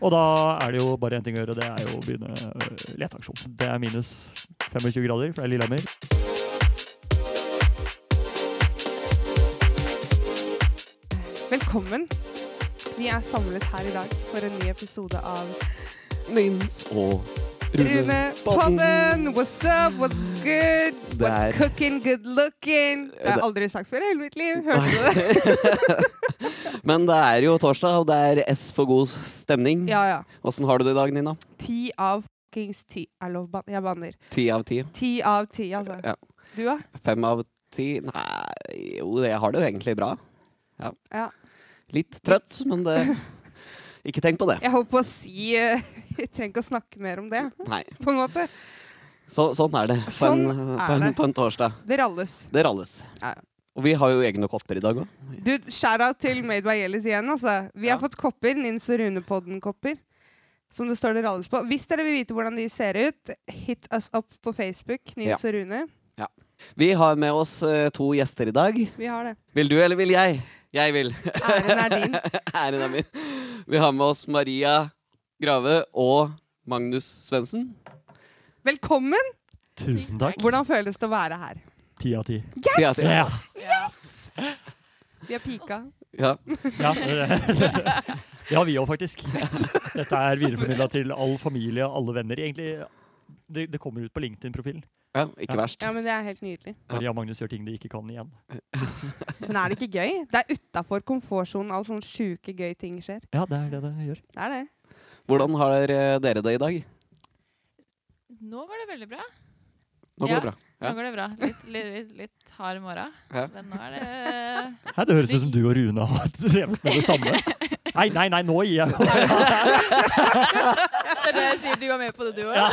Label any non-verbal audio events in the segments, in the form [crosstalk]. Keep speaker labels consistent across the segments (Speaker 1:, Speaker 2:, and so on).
Speaker 1: Og da er det jo bare én ting å gjøre, og det er jo å begynne øh, leteaksjon. Det er minus 25 grader, for det er Lillehammer.
Speaker 2: Velkommen. Vi er samlet her i dag for en ny episode av Nins
Speaker 3: og
Speaker 2: Rune Podden. What's up? What's good?
Speaker 3: Det
Speaker 2: What's
Speaker 3: er-
Speaker 2: cooking? Good looking? Det har jeg aldri sagt før i hele mitt liv. Hørte du det?
Speaker 3: [laughs] [laughs] Men det er jo torsdag, og det er S for god stemning.
Speaker 2: Ja, ja.
Speaker 3: Åssen har du det i dag, Nina?
Speaker 2: Ti av fuckings ti. Jeg lov, ban jeg banner.
Speaker 3: Ti av ti?
Speaker 2: Ti av ti, altså.
Speaker 3: Ja.
Speaker 2: Du, da?
Speaker 3: Fem av ti? Nei, jo, jeg har det jo egentlig bra. Ja.
Speaker 2: Ja.
Speaker 3: Litt trøtt, men det Ikke tenk på det.
Speaker 2: Jeg holdt på å si eh, [laughs] Jeg trenger ikke å snakke mer om det,
Speaker 3: Nei.
Speaker 2: på en måte.
Speaker 3: Så, sånn er det på,
Speaker 2: Sånn
Speaker 3: en,
Speaker 2: er
Speaker 3: på, en,
Speaker 2: det.
Speaker 3: på en torsdag.
Speaker 2: Det ralles.
Speaker 3: Det ralles.
Speaker 2: Ja.
Speaker 3: Og vi har jo egne kopper i dag òg.
Speaker 2: Du, shout-out til Made by Yellis igjen, altså. Vi har
Speaker 3: Ja.
Speaker 2: fått kopper, Nins og Runepodden-kopper, som det står det ralles på. Hvis dere vil vite hvordan de ser ut, hit us up på Facebook, Nins
Speaker 3: Ja.
Speaker 2: og Rune.
Speaker 3: Vi har med oss eh, to gjester i dag.
Speaker 2: Vi har
Speaker 3: [laughs]
Speaker 2: det.
Speaker 3: Vil du, eller vil jeg? Jeg vil.
Speaker 2: Æren er din.
Speaker 3: Æren er min. Vi har med oss Maria Grave og Magnus Svendsen.
Speaker 2: Velkommen!
Speaker 1: Tusen takk.
Speaker 2: Hvordan føles det å være her?
Speaker 1: Ti av ti.
Speaker 3: Yes!
Speaker 1: Ja.
Speaker 2: Vi har pika.
Speaker 3: Ja.
Speaker 1: [laughs] Ja, det- det- det har vi òg, faktisk. Dette er videreformidla til all familie og alle venner. Egentlig, det, det kommer ut på LinkedIn-profilen.
Speaker 3: ja, ikke verst.
Speaker 2: Ja, men det er helt nydelig.
Speaker 1: Maria og Magnus gjør ting de ikke kan igjen.
Speaker 2: Men er det ikke gøy? Det er utafor komfortsonen all sånn sjuke gøy ting skjer.
Speaker 1: Ja, det er det det gjør.
Speaker 2: Det er det.
Speaker 3: [laughs] Hvordan har eh, dere det i dag?
Speaker 4: Nå går det veldig bra.
Speaker 3: Nå går
Speaker 4: Ja.
Speaker 3: det bra. Ja.
Speaker 4: Nå går det bra. Litt, litt, litt, litt hard morgen.
Speaker 3: Ja.
Speaker 4: Men nå er det
Speaker 1: Hæ, det høres ut som du og Rune har drevet med det [laughs] samme. Nei, nei, nei, nå gir jeg
Speaker 4: Det er det jeg sier, du var med på det, du òg.
Speaker 2: er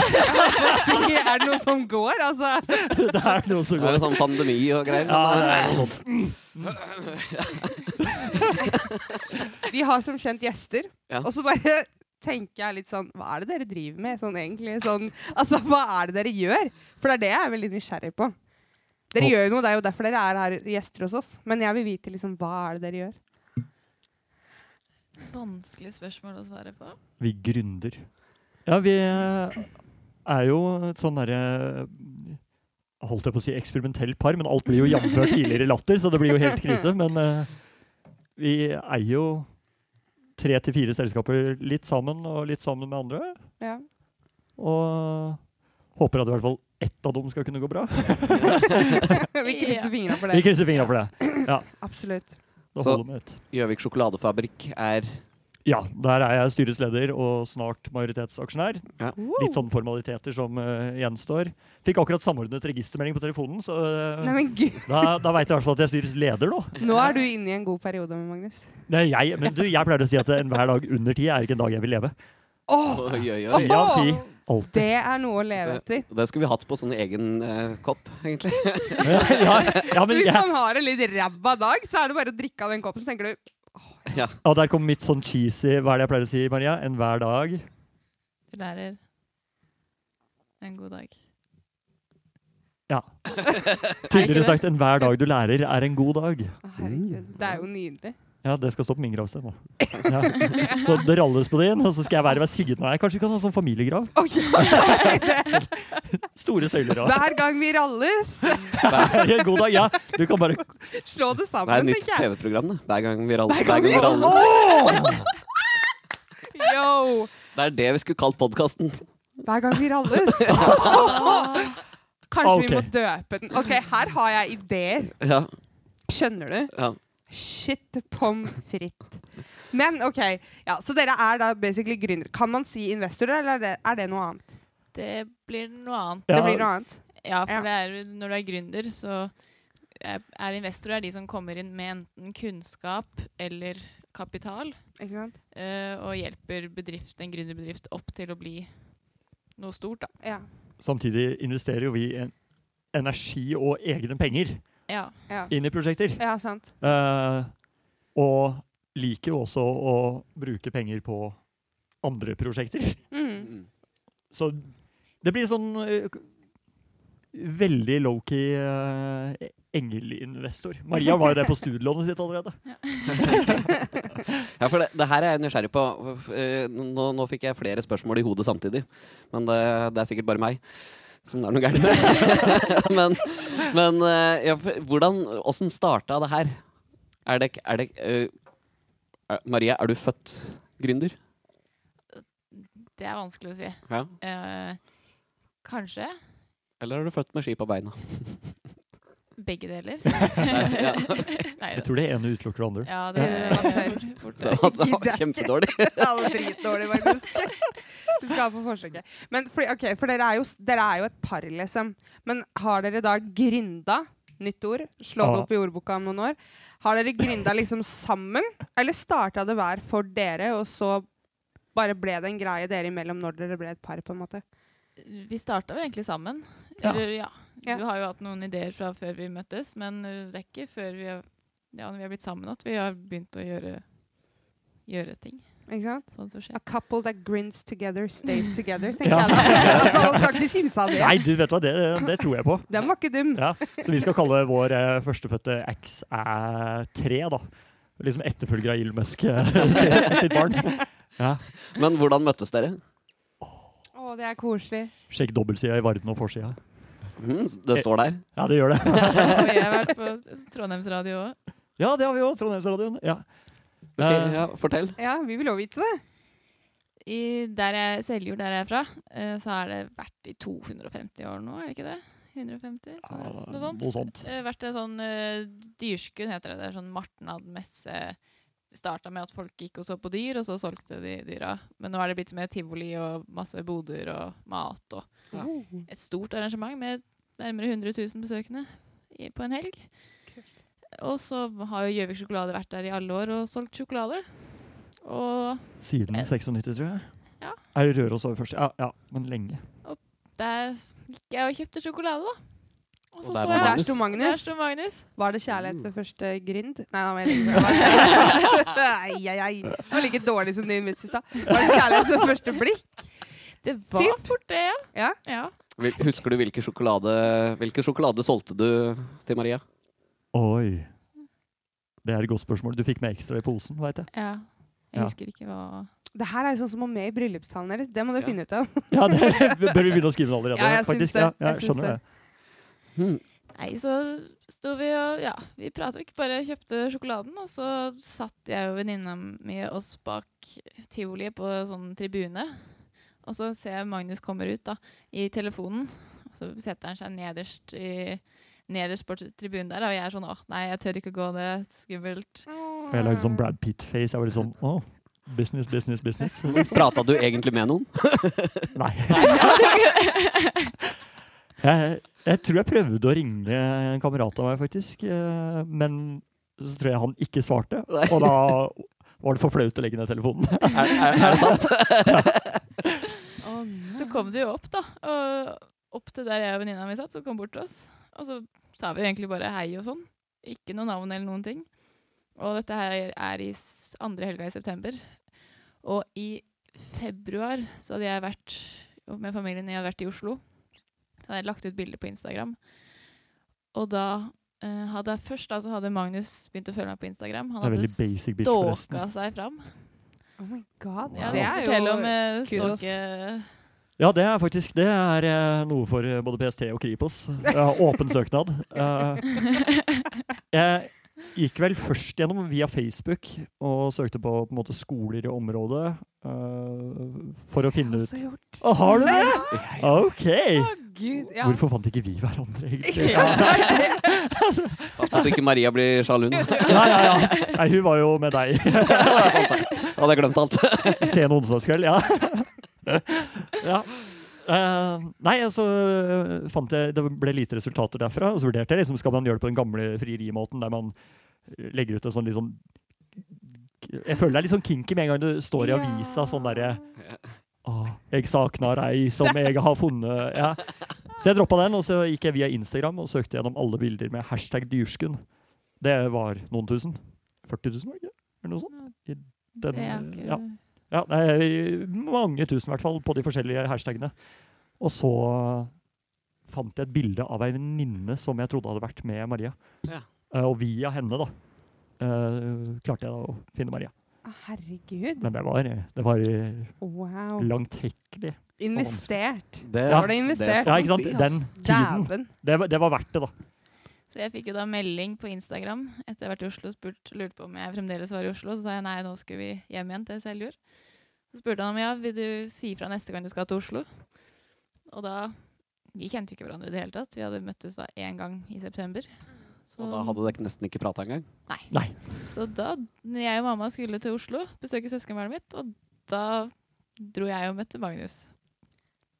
Speaker 2: det noe som går, altså?
Speaker 1: [laughs] Det er noe som
Speaker 3: Det er
Speaker 1: går.
Speaker 3: jo sånn pandemi og greier.
Speaker 1: Ja, det
Speaker 3: men,
Speaker 1: er noe sånt.
Speaker 2: Vi har som kjent gjester,
Speaker 3: Ja.
Speaker 2: og så bare tenker jeg litt sånn Hva er det dere driver med, sånn egentlig? Sånn, altså, hva er det dere gjør? For det er det jeg er veldig nysgjerrig på. Dere
Speaker 1: Og-
Speaker 2: gjør jo noe, det er jo derfor dere er her gjester hos oss. Men jeg vil vite liksom hva er det dere gjør.
Speaker 4: Vanskelig spørsmål å svare på.
Speaker 1: Vi gründer. Ja, vi er jo et sånn derre Holdt jeg på å si eksperimentell par, men alt blir jo jamført tidligere latter, så det blir jo helt krise. Men eh, vi eier jo tre til fire selskaper litt sammen, og litt sammen med andre.
Speaker 2: Ja.
Speaker 1: Og håper at i hvert fall ett av dem skal kunne gå bra.
Speaker 2: [laughs] vi krysser
Speaker 4: Ja.
Speaker 2: fingrene for
Speaker 1: Vi
Speaker 2: det.
Speaker 1: krysser fingra for det.
Speaker 2: Absolutt.
Speaker 1: Det
Speaker 3: Så-
Speaker 1: holder med ett.
Speaker 3: eh, Gjøvik sjokoladefabrikk er
Speaker 1: Ja, der er jeg styrets leder og snart majoritetsaksjonær. Litt sånn-
Speaker 2: Wow.
Speaker 1: sånne formaliteter som eh, gjenstår. Fikk akkurat samordnet registermelding på telefonen, så eh,
Speaker 2: Nei, men gud.
Speaker 1: da, da veit jeg i hvert fall at jeg er styrets leder nå.
Speaker 2: Nå er du inne i en god periode med Magnus.
Speaker 1: Nei, jeg, men du, jeg pleier å si at enhver dag under ti er ikke en dag jeg vil leve.
Speaker 2: Åh,
Speaker 3: Oi, oi,
Speaker 1: Ti
Speaker 3: oi.
Speaker 1: av ti. Alltid.
Speaker 2: det er noe å leve etter.
Speaker 3: Det skulle vi hatt på sånn egen eh, kopp, egentlig.
Speaker 1: [laughs] Ja, ja,
Speaker 2: Så
Speaker 1: men
Speaker 2: hvis
Speaker 1: jeg,
Speaker 2: han har en litt ræva dag, så er det bare å drikke av den koppen, så tenker du
Speaker 1: ja, der kom mitt sånn cheesy Hva er det jeg pleier å si, Maria? Enhver dag.
Speaker 4: Du lærer en god dag.
Speaker 1: Tydeligere
Speaker 4: det?
Speaker 1: sagt, enhver dag du lærer, er en god dag.
Speaker 2: Å, herregud,
Speaker 1: Mm.
Speaker 2: det er jo nydelig.
Speaker 1: Ja, det skal stå på min gravsten. da. Ja. Så det ralles på din, og så skal jeg være ved siden av deg. Kanskje vi kan ha sånn familiegrav?
Speaker 2: Oi,
Speaker 1: [laughs]
Speaker 2: det-
Speaker 1: Store søyler og
Speaker 2: Hver gang vi ralles,
Speaker 1: En [laughs] god dag, ja. Du kan bare
Speaker 2: slå det
Speaker 3: Det er et
Speaker 2: sammen,
Speaker 3: nytt
Speaker 2: tenker jeg.
Speaker 3: TV-program, det. Hver gang vi raller.
Speaker 2: Hver gang
Speaker 3: Hver gang vi raller.
Speaker 2: Yo!
Speaker 3: Det er det vi skulle kalt podkasten.
Speaker 2: Hver gang vi ralles. Kanskje vi må
Speaker 1: Ah, Ok.
Speaker 2: døpe den. Ok, her har jeg ideer.
Speaker 3: Ja,
Speaker 2: Skjønner du?
Speaker 3: ja.
Speaker 2: Shit pommes frites. Men OK, ja, så dere er da basically gründere. Kan man si investorer, eller er det, er det noe annet?
Speaker 4: Det blir noe annet.
Speaker 1: Ja.
Speaker 2: Det blir noe annet.
Speaker 4: Ja,
Speaker 2: Ja.
Speaker 4: for det er, når du er gründer, så er er investorer de som kommer inn med enten kunnskap eller kapital,
Speaker 2: Ikke sant?
Speaker 4: eh, og hjelper bedrift, en gründerbedrift opp til å bli noe stort, da.
Speaker 2: Ja.
Speaker 1: Samtidig investerer jo vi en energi og egne penger
Speaker 4: Ja.
Speaker 2: Ja,
Speaker 1: inn i prosjekter.
Speaker 2: ja sant.
Speaker 1: Eh, og liker jo også å bruke penger på andre prosjekter.
Speaker 2: Mm.
Speaker 1: Så det blir sånn eh, k- veldig low-key eh, engelinvestor. Maria var jo det på studielånet sitt allerede.
Speaker 3: Ja, for det, det her er jeg nysgjerrig på. Eh, Nå, nå fikk jeg flere spørsmål i hodet samtidig. Men det, det er sikkert bare meg som det er noe gærent med. [laughs] men men eh, ja, for hvordan Åssen starta det her? Er det, ikke- er det eh, er, Maria, er du født gründer?
Speaker 4: Det er vanskelig å si.
Speaker 3: Ja.
Speaker 4: Eh, kanskje
Speaker 3: Eller er du født med ski på [laughs] beina?
Speaker 4: begge deler.
Speaker 3: Ja.
Speaker 4: Nei,
Speaker 1: Jeg tror det ene utelukker det andre.
Speaker 4: ja, det var fort, fort.
Speaker 3: [laughs] Det var, det var
Speaker 2: Gidder jeg ikke.
Speaker 3: kjempedårlig.
Speaker 2: [laughs] Ja, det var dritdårlig, faktisk. Du skal ha på forsøket. Men fordi, ok, for dere er, jo, dere er jo et par, liksom. Men har dere da grynda? Nytt ord. Slå det
Speaker 1: Ja.
Speaker 2: opp i ordboka om noen år. Har dere grynda liksom sammen, eller starta det hver for dere, og så bare ble det en greie dere imellom når dere ble et par, på en måte?
Speaker 4: Vi starta vel egentlig sammen.
Speaker 1: Ja.
Speaker 4: Eller, ja.
Speaker 2: Ja.
Speaker 4: Du har jo hatt noen ideer fra før vi møttes, men eh, det er ikke før vi har, ja, når vi har blitt sammen at vi har begynt å gjøre, gjøre ting.
Speaker 2: Ikke sant?
Speaker 4: Sånn som
Speaker 2: [laughs]
Speaker 4: skjer.
Speaker 2: A couple that grins together, stays together, tenker
Speaker 1: Ja.
Speaker 2: jeg da.
Speaker 1: [laughs]
Speaker 2: Altså, man skal ikke kimse av
Speaker 1: Nei,
Speaker 2: det.
Speaker 1: du vet hva, det, det tror jeg på.
Speaker 2: Den var ikke dum.
Speaker 1: [laughs] Ja, Så vi skal kalle vår eh, førstefødte X æ3, da. Liksom etterfølger av Elon Musk eh, [laughs] sitt sitt barn. Ja.
Speaker 3: Men hvordan møttes dere?
Speaker 2: Å, det er koselig.
Speaker 1: Sjekk dobbeltsida i Varden og forsida.
Speaker 3: Mhm, det står der.
Speaker 1: Ja, det gjør det.
Speaker 4: Og jeg har vært på Trondheimsradio òg.
Speaker 1: Ja, det har vi jo, Trondheimsradioen. Ja. Eh,
Speaker 3: Ok, ja, fortell.
Speaker 2: Ja, vi vil òg vite det.
Speaker 4: Der jeg Seljord, der jeg er fra, eh, så har det vært i 250 år nå, er det ikke det? 150?
Speaker 1: Ja,
Speaker 4: 200, noe sånt.
Speaker 1: noe sånt.
Speaker 4: Eh, vært det sånn eh, dyrskunn, heter det. Det er sånn martnadmesse. Det starta med at folk gikk og så på dyr, og så solgte de dyra. Men nå er det blitt med tivoli og masse boder og mat og
Speaker 3: Ja.
Speaker 4: et stort arrangement med nærmere 100 000 besøkende i, på en helg. Og så har jo Gjøvik sjokolade vært der i alle år og solgt sjokolade. Og
Speaker 1: Siden 96, tror jeg.
Speaker 4: Ja.
Speaker 1: Er det Røros over først? Ja, ja, men lenge.
Speaker 4: der gikk jeg og kjøpte sjokolade, da.
Speaker 3: Og der var
Speaker 4: jeg-
Speaker 2: Der
Speaker 3: Magnus.
Speaker 2: sto
Speaker 4: Der
Speaker 2: Magnus.
Speaker 4: sto Magnus.
Speaker 2: Var det
Speaker 3: Mm.
Speaker 2: kjærlighet ved første grind? Nei, da må jeg legge
Speaker 3: [laughs]
Speaker 2: meg. Ai, ai, ai. Det var like dårlig som din vits i stad. Var det kjærlighet ved første blikk?
Speaker 4: Det var fort det, ja.
Speaker 2: Ja.
Speaker 4: ja.
Speaker 3: Hvil- Husker du hvilken sjokolade, hvilken sjokolade solgte du til Maria?
Speaker 1: Oi. Det er et godt spørsmål. Du fikk med ekstra i posen, veit jeg.
Speaker 4: ja.
Speaker 1: Ja.
Speaker 4: Jeg husker ikke hva
Speaker 2: Det her er jo sånn som å med i bryllupstalen deres. Det må dere
Speaker 3: Ja.
Speaker 2: finne ut av.
Speaker 1: Ja, det Bør vi begynne å skrive den allerede?
Speaker 2: Ja, jeg syns
Speaker 1: faktisk?
Speaker 2: det.
Speaker 1: Ja, ja,
Speaker 2: Jeg syns
Speaker 1: skjønner det.
Speaker 2: det.
Speaker 3: Hmm.
Speaker 4: Nei, så sto vi og Ja, vi prata ikke, bare kjøpte sjokoladen. Og så satt jeg og venninna mi oss bak tivoliet på sånn tribune. Og så ser jeg Magnus kommer ut da, i telefonen. Og så setter han seg nederst, i, nederst på tribunen der. Og jeg er sånn åh, nei, jeg tør ikke gå det. er Skummelt. [laughs]
Speaker 1: Og Jeg lagde sånn Brad Pitt-face. Jeg var litt sånn å, business, business, business.
Speaker 3: [laughs]
Speaker 1: Liksom.
Speaker 3: Prata du egentlig med noen?
Speaker 1: Nei. Jeg, jeg tror jeg prøvde å ringe en kamerat av meg, faktisk. eh, Men så tror jeg han ikke svarte.
Speaker 3: Nei.
Speaker 1: Og da var det for flaut å legge ned telefonen.
Speaker 3: Er, er, er det sant?
Speaker 4: Så kom du jo opp, da. Og opp til der jeg og venninna mi satt, så kom bort til oss. Og så sa vi jo egentlig bare hei og sånn. Ikke noe navn eller noen ting. Og dette her er i s- andre helga i september. Og i februar så hadde jeg vært med familien, jeg hadde vært i Oslo. Så hadde jeg lagt ut bilder på Instagram. Og da eh, hadde jeg først da, så hadde Magnus begynt å følge meg på Instagram. Han
Speaker 1: Det er
Speaker 4: hadde
Speaker 1: veldig basic bitch, forresten.
Speaker 4: stalka seg fram.
Speaker 2: Oh my god.
Speaker 4: Ja,
Speaker 2: Det
Speaker 4: det
Speaker 2: er
Speaker 4: forteller om
Speaker 2: jo
Speaker 4: eh,
Speaker 2: kudos.
Speaker 4: stalke...
Speaker 1: Ja, det er faktisk det er eh, noe for eh, både PST og Kripos. Eh, Åpen søknad. Eh, Jeg gikk vel først gjennom via Facebook og søkte på, på en måte, skoler i området eh, for å finne ut
Speaker 2: så gjort.
Speaker 1: Å, Har du det? OK!
Speaker 2: Å gud, ja.
Speaker 1: Hvorfor fant ikke vi hverandre, [laughs] egentlig?
Speaker 2: [laughs] Ja, det er det.
Speaker 3: Pass på så altså ikke Maria blir sjalu. [laughs] nå.
Speaker 1: Ja, ja, ja. Nei, hun var jo med deg.
Speaker 3: Ja, det er sant, det. Da hadde jeg glemt alt.
Speaker 1: Sen onsdagskveld, ja. ja. Eh, nei, så eh, fant jeg Det ble lite resultater derfra. Og så vurderte jeg liksom, skal man gjøre det på den gamle frierimåten, der man legger ut en sånn litt sånn Jeg føler det er litt sånn kinky med en gang du står i
Speaker 2: Ja.
Speaker 1: avisa sånn derre «Åh, jeg savner ei som jeg har funnet ja. Så jeg droppa den, og så gikk jeg via Instagram og søkte gjennom alle bilder med hashtag dyrskunn. Det var noen tusen. 40 000, var det ikke? Eller noe sånt?
Speaker 2: [laughs]
Speaker 4: [laughs]
Speaker 1: Den,
Speaker 4: det er ikke
Speaker 1: ja. Ja, nei, mange tusen i hvert fall på de forskjellige hashtagene. Og så fant jeg et bilde av ei venninne som jeg trodde hadde vært med Maria.
Speaker 3: Ja.
Speaker 1: Eh, og via henne, da, eh, klarte jeg da å finne Maria.
Speaker 2: Å, Herregud.
Speaker 1: Men det var, det var eh,
Speaker 2: Wow.
Speaker 1: langt hekkelig.
Speaker 2: Investert.
Speaker 3: Det,
Speaker 2: Da var det investert.
Speaker 1: Ja,
Speaker 3: får man
Speaker 1: ikke sant?
Speaker 3: si, altså.
Speaker 1: Den tiden.
Speaker 2: Dæven.
Speaker 1: Det, var- det var verdt det, da.
Speaker 4: Så jeg fikk jo da melding på Instagram etter jeg har vært i Oslo og spurt, lurte på om jeg fremdeles var i Oslo. Så sa jeg nei, nå skulle vi hjem igjen til Seljord. Så spurte han om ja, vil du si fra neste gang du skal til Oslo. Og da Vi kjente jo ikke hverandre i det hele tatt. Vi hadde møttes da én gang i september. Så,
Speaker 3: Og da hadde dere nesten ikke prata engang.
Speaker 1: Nei.
Speaker 4: så da når jeg og mamma skulle til Oslo, besøke søskenbarnet mitt, og da dro jeg og møtte Magnus.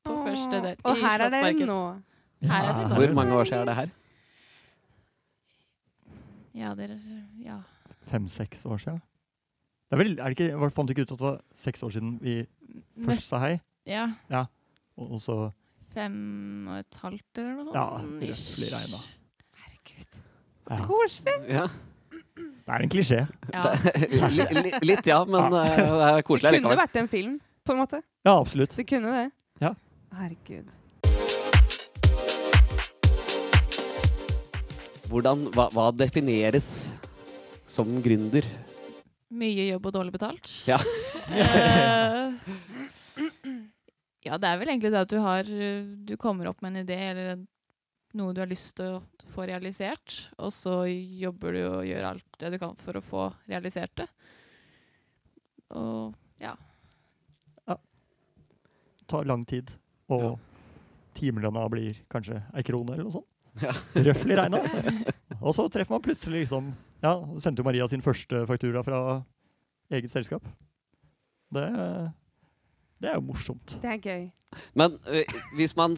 Speaker 4: På første date
Speaker 2: Og
Speaker 4: i
Speaker 2: her er
Speaker 4: Slottsparken.
Speaker 2: dere nå.
Speaker 4: Her er det
Speaker 1: Ja,
Speaker 4: da.
Speaker 3: Hvor mange år siden er det her?
Speaker 4: Ja, dere Ja.
Speaker 1: Fem-seks år siden. Det er vel, er det ikke, hva- fant du ikke ut at det var seks år siden vi
Speaker 4: Møtt,
Speaker 1: først sa hei?
Speaker 4: ja.
Speaker 1: Og og så
Speaker 4: Fem og et halvt eller noe sånt.
Speaker 1: Ja, røftlig regna.
Speaker 2: Herregud.
Speaker 1: Ja.
Speaker 2: Koselig.
Speaker 3: Ja.
Speaker 1: Det er en klisjé.
Speaker 4: Ja.
Speaker 3: Li, li, litt, ja, men
Speaker 1: Ja.
Speaker 3: eh, det er
Speaker 2: Det
Speaker 3: koselig
Speaker 2: kunne
Speaker 3: likevel.
Speaker 2: vært en film, på en måte.
Speaker 1: Ja, absolutt.
Speaker 2: Det kunne det.
Speaker 1: Ja.
Speaker 2: Herregud.
Speaker 3: Hvordan, hva, hva defineres som gründer?
Speaker 4: Mye jobb og dårlig betalt.
Speaker 3: Ja.
Speaker 4: Eh, ja, det er vel egentlig det at du har eh, Du kommer opp med en idé eller en- noe du har lyst til å få realisert, og så jobber du og gjør alt det du kan for å få realisert det. Og
Speaker 1: tar lang tid. Og timelønna blir kanskje ei krone eller noe sånt.
Speaker 3: Ja.
Speaker 1: [laughs] Røftlig regna. Og så treffer man plutselig liksom Ja, sendte jo Maria sin første faktura fra eget selskap. Det, det er jo morsomt.
Speaker 2: [laughs] Det er gøy.
Speaker 3: Men eh, hvis man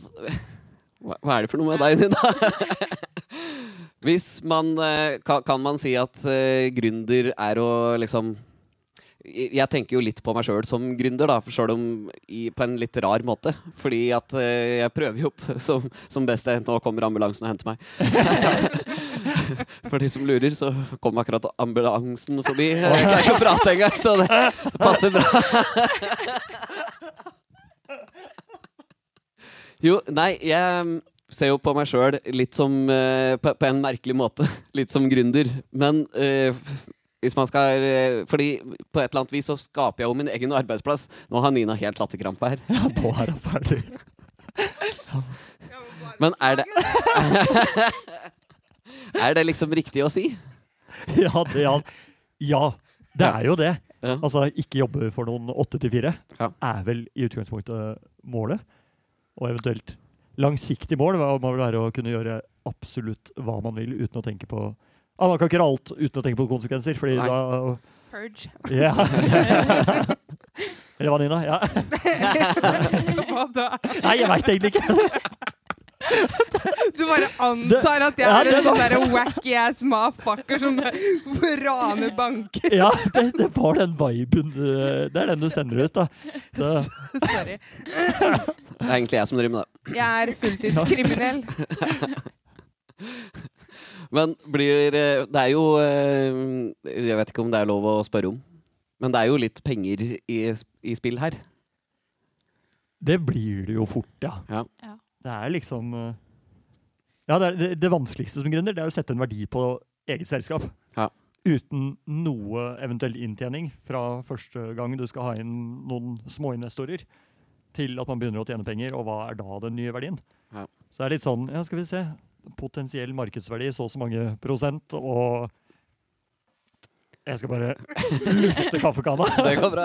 Speaker 3: [laughs] hva, hva er det for noe med deg, Nina? [laughs] Hvis man eh, kan, kan man si at eh, gründer er å liksom jeg jeg tenker jo litt på meg sjøl som gründer, da, for selv om i, på en litt rar måte. Fordi at eh, jeg prøver jo p- [laughs] som, som best jeg Nå kommer ambulansen og henter meg. [laughs] for de som lurer, så kom akkurat ambulansen forbi. Jeg klarer ikke å prate engang, så det passer bra. Jo, nei, jeg ser jo på meg sjøl litt som eh, på, på en merkelig måte. [laughs] Litt som gründer. Men eh, hvis man skal eh, Fordi på et eller annet vis så skaper jeg jo min egen arbeidsplass. Nå har Nina helt latterkrampe her.
Speaker 1: Ja, nå er hun ferdig.
Speaker 3: Men er det Er det liksom riktig å si?
Speaker 1: Ja, det, ja. ja, det er jo det.
Speaker 3: Ja.
Speaker 1: Altså, ikke jobbe for noen åtte til fire
Speaker 3: Ja.
Speaker 1: er vel i utgangspunktet målet. Og eventuelt langsiktig mål hva må vel være å kunne gjøre absolutt hva man vil uten å tenke på ah, Man kan ikke gjøre alt uten å tenke på konsekvenser, fordi
Speaker 3: Nei.
Speaker 1: da
Speaker 3: [laughs]
Speaker 2: Purge.
Speaker 1: Ja. Eller hva, Nina? Ja.
Speaker 2: Hva da?
Speaker 1: Nei, jeg veit egentlig ikke.
Speaker 2: Du bare antar at jeg
Speaker 1: Ja,
Speaker 2: er
Speaker 1: det
Speaker 2: en sånn der wacky ass motherfucker som [laughs] raner banker.
Speaker 1: Ja, Det, det var den viben du Det er den du sender ut, da. Så,
Speaker 2: Sorry.
Speaker 3: Det er egentlig jeg som driver med det.
Speaker 2: Jeg er fulltidskriminell.
Speaker 3: Men blir eh, Det er jo eh, Jeg vet ikke om det er lov å spørre om. Men det er jo litt penger i, i spill her.
Speaker 1: det blir det jo fort, ja.
Speaker 3: Ja.
Speaker 4: Ja.
Speaker 1: Det er liksom eh, Ja, det, er, det, det vanskeligste som gründer, det er å sette en verdi på eget selskap.
Speaker 3: Ja.
Speaker 1: Uten noe eventuell inntjening fra første gang du skal ha inn noen småinvestorer, til at man begynner å tjene penger, og hva er da den nye verdien?
Speaker 3: Ja.
Speaker 1: Så det er litt sånn, ja, skal vi se Potensiell markedsverdi så og så mange prosent, og Jeg skal bare [laughs] lufte kaffekanna. Altså,
Speaker 3: Det går bra.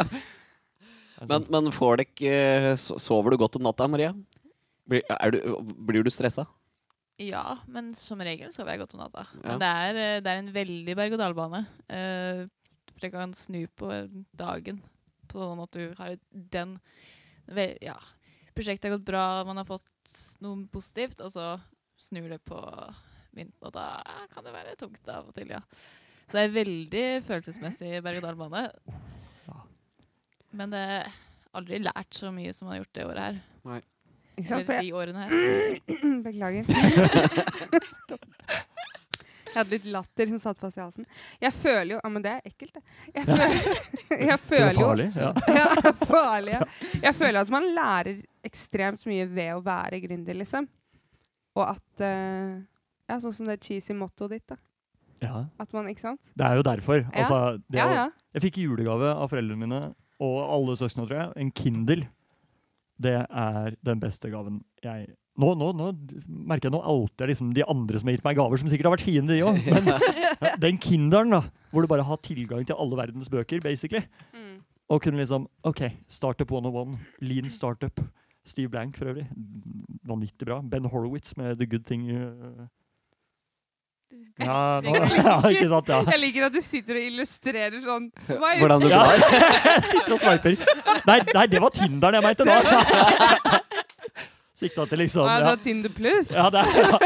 Speaker 3: Men, men får dere ikke- eh, so- Sover du godt om natta, Maria? Blir, er du, blir du stressa?
Speaker 4: Ja, men som regel sover jeg godt om natta.
Speaker 3: Ja.
Speaker 4: Men det er, eh, det er en veldig berg-og-dal-bane. Eh, for jeg kan snu på dagen på sånn at du har et- den ve- Ja. Prosjektet har gått bra, man har fått s- noe positivt, og så snur det på mynt, og da kan det være tungt av og til, ja. Så det er veldig følelsesmessig berg-og-dal-bane.
Speaker 1: Ja.
Speaker 4: Men det er aldri lært så mye som man har gjort det året her.
Speaker 2: Ikke sant? For
Speaker 4: Eller
Speaker 2: jeg,
Speaker 4: de årene her.
Speaker 2: beklager. Jeg hadde litt latter som satt fast i halsen. Jeg føler jo Ja, men det er ekkelt, det. Jeg føler, jeg
Speaker 1: Det er
Speaker 2: føler
Speaker 1: farlig,
Speaker 2: jo
Speaker 1: ja.
Speaker 2: [laughs] Ja, det er farlig. Ja. Jeg føler at man lærer ekstremt mye ved å være gründer, liksom. Og at eh, Ja, sånn som det cheesy mottoet ditt, da.
Speaker 1: ja.
Speaker 2: At man, ikke sant?
Speaker 1: Det er jo derfor. Altså, det
Speaker 2: Ja,
Speaker 1: å-
Speaker 2: ja.
Speaker 1: Jeg fikk i julegave av foreldrene mine og alle søsknene, tror jeg, en Kindle. Det er den beste gaven jeg Nå, nå, nå merker jeg nå outer jeg liksom de andre som har gitt meg gaver, som sikkert har vært fiender, de
Speaker 3: [laughs]
Speaker 1: òg. Men den Kinderen, da, hvor du bare har tilgang til alle verdens bøker, basically,
Speaker 2: Mm.
Speaker 1: og kunne liksom OK, startup 101, lean startup. Steve Blank for øvrig. Vanvittig bra. Ben Horowitz med The Good Thing You-
Speaker 2: [laughs]
Speaker 1: Ja, nå, [laughs] ja ikke sant? Ja.
Speaker 2: Jeg liker at du sitter og illustrerer sånn swipe.
Speaker 3: Hvordan du
Speaker 1: Ja.
Speaker 3: drar.
Speaker 1: Sitter og sveiper. Nei, nei, det var Tinderen jeg mente nå. [laughs] Sikta til liksom
Speaker 2: Ja, det
Speaker 1: Ja,
Speaker 2: var Tinder pluss.
Speaker 1: ja det er ja.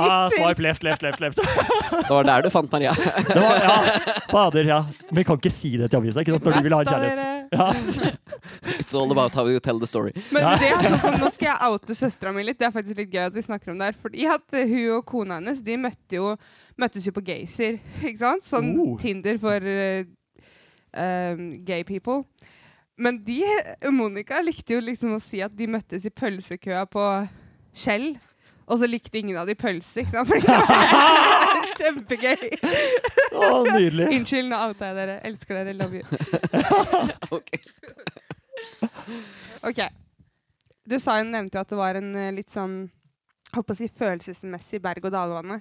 Speaker 1: Ah, Swipe left, left, left. left.
Speaker 3: [laughs] Det var der du fant Maria.
Speaker 1: Det var, ja, Fader, ja. Men vi kan ikke si det til avisa ikke sant, når du vil ha
Speaker 2: Basta
Speaker 1: kjærlighet.
Speaker 2: dere.
Speaker 1: Ja.
Speaker 3: It's all about how you tell the story.
Speaker 2: Men det er sånn som, nå skal jeg oute søstera mi litt. Det er faktisk litt gøy at vi snakker om det her. Fordi at eh, hun og kona hennes de møtte jo, møttes jo på Gaysir. [laughs] Ikke sant? Sånn
Speaker 1: Oh.
Speaker 2: Tinder for eh, um, gay people. Men de, eh, Monica likte jo liksom å si at de møttes i pølsekøa på Shell. Og så likte ingen av de pølse, ikke sant? [laughs] Fordi det er kjempegøy.
Speaker 1: Å, nydelig.
Speaker 2: Unnskyld, nå outa jeg dere. Elsker dere. Love you.
Speaker 3: Ok.
Speaker 2: [laughs] Ok. Du sa jo, nevnte jo at det var en eh, litt sånn jeg håper å si følelsesmessig berg-og-dal-bane.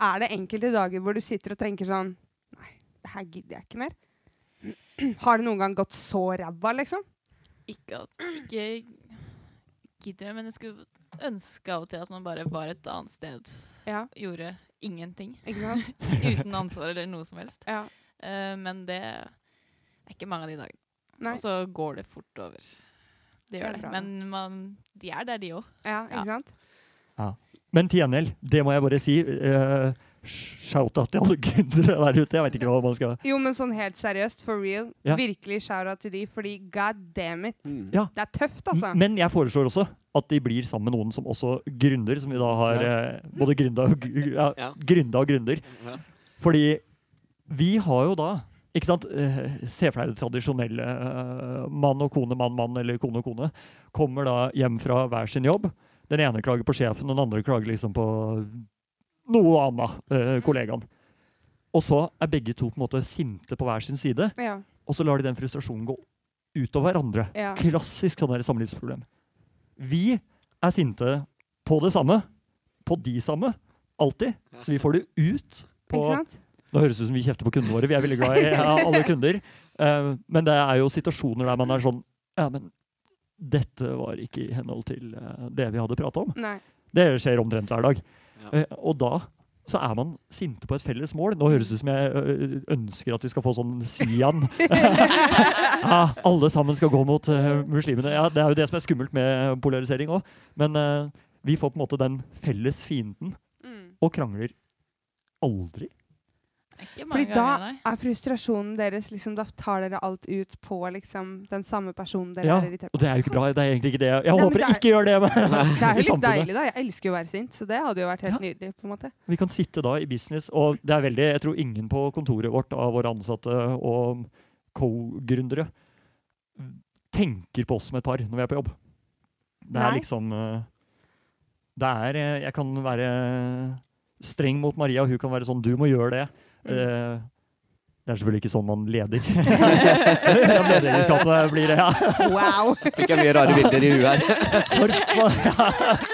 Speaker 2: Er det enkelte dager hvor du sitter og tenker sånn Nei, det her gidder jeg ikke mer. [clears throat] Har det noen gang gått så ræva, liksom?
Speaker 4: Ikke at ikke gidder, men jeg skulle ønske av og til at man bare var et annet sted.
Speaker 2: Ja.
Speaker 4: Gjorde
Speaker 2: [laughs]
Speaker 4: ingenting.
Speaker 2: Ikke sant?
Speaker 4: Uten ansvar eller noe som helst.
Speaker 2: Ja.
Speaker 4: Eh, men det er ikke mange av de dagene.
Speaker 2: Nei.
Speaker 4: Og så går det fort over. Det
Speaker 2: er
Speaker 4: gjør det.
Speaker 2: bra, da.
Speaker 4: Men man, de er der, de òg.
Speaker 2: Ja, ikke
Speaker 4: Ja.
Speaker 2: sant?
Speaker 1: Men til gjengjeld, det må jeg bare si. eh, Shout-out til alle gründere der ute. Jeg vet ikke hva man skal
Speaker 2: Jo, men sånn helt seriøst, for real.
Speaker 1: Ja.
Speaker 2: Virkelig shout-out til de, fordi god damn it.
Speaker 3: Mm.
Speaker 1: Ja.
Speaker 2: Det er tøft, altså.
Speaker 1: Men jeg foreslår også at de blir sammen med noen som også gründer, som vi da har eh, både gründa og, gu- ja,
Speaker 3: Ja.
Speaker 1: gründa og gründer.
Speaker 3: Ja.
Speaker 1: Fordi vi har jo da ikke sant? eh, Se for deg det tradisjonelle eh, mann og kone, mann, mann eller kone og kone. Kommer da hjem fra hver sin jobb. Den ene klager på sjefen, den andre klager liksom på noe annet. eh, kollegaen. Og så er begge to på en måte sinte på hver sin side,
Speaker 2: Ja,
Speaker 1: og så lar de den frustrasjonen gå utover hverandre.
Speaker 2: ja.
Speaker 1: Klassisk sånn der samlivsproblem. Vi er sinte på det samme. På de samme. Alltid. Så vi får det ut på
Speaker 2: Ikke sant?
Speaker 1: Nå høres det ut som vi kjefter på kundene våre. Vi er veldig glad i ja, alle kunder. Eh, men det er jo situasjoner der man er sånn Ja, men dette var ikke i henhold til eh, det vi hadde prata om.
Speaker 2: Nei.
Speaker 1: Det skjer omtrent hver dag.
Speaker 3: Ja.
Speaker 1: Eh, og da så er man sinte på et felles mål. Nå høres det ut som jeg ø, ønsker at vi skal få sånn Sian. ja, alle sammen skal gå mot eh, muslimene. Ja, det er jo det som er skummelt med polarisering òg. Men eh, vi får på en måte den felles fienden,
Speaker 2: Mm.
Speaker 1: og krangler aldri.
Speaker 4: Ikke mange
Speaker 2: Fordi da
Speaker 4: ganger, nei.
Speaker 2: [laughs] er frustrasjonen deres liksom, Da tar dere alt ut på liksom, den samme personen dere
Speaker 1: Ja,
Speaker 2: er irritert
Speaker 1: Og
Speaker 2: på.
Speaker 1: det er jo ikke bra. Det er egentlig ikke det. Jeg
Speaker 2: men
Speaker 1: håper
Speaker 2: det
Speaker 1: jeg
Speaker 2: er-
Speaker 1: ikke gjør det. Men
Speaker 2: Det er
Speaker 1: i
Speaker 2: jo litt
Speaker 1: samfunnet.
Speaker 2: deilig, da. Jeg elsker jo å være sint, så det hadde jo vært helt nydelig. på en måte.
Speaker 1: [laughs] vi kan sitte da i business, og det er veldig Jeg tror ingen på kontoret vårt av våre ansatte og co-gründere tenker på oss som et par når vi er på jobb. Det er
Speaker 2: Nei.
Speaker 1: liksom eh, Det er eh, Jeg kan være streng mot Maria, og hun kan være sånn Du må gjøre det. [laughs]
Speaker 2: Mm.
Speaker 1: Eh, Det er selvfølgelig ikke sånn man
Speaker 2: [laughs]
Speaker 1: leder. [laughs] Lederskapene blir det, ja.
Speaker 2: Mm. Wow!
Speaker 3: Fikk jeg mye rare bilder i
Speaker 1: [laughs]
Speaker 3: huet her.
Speaker 1: For faen!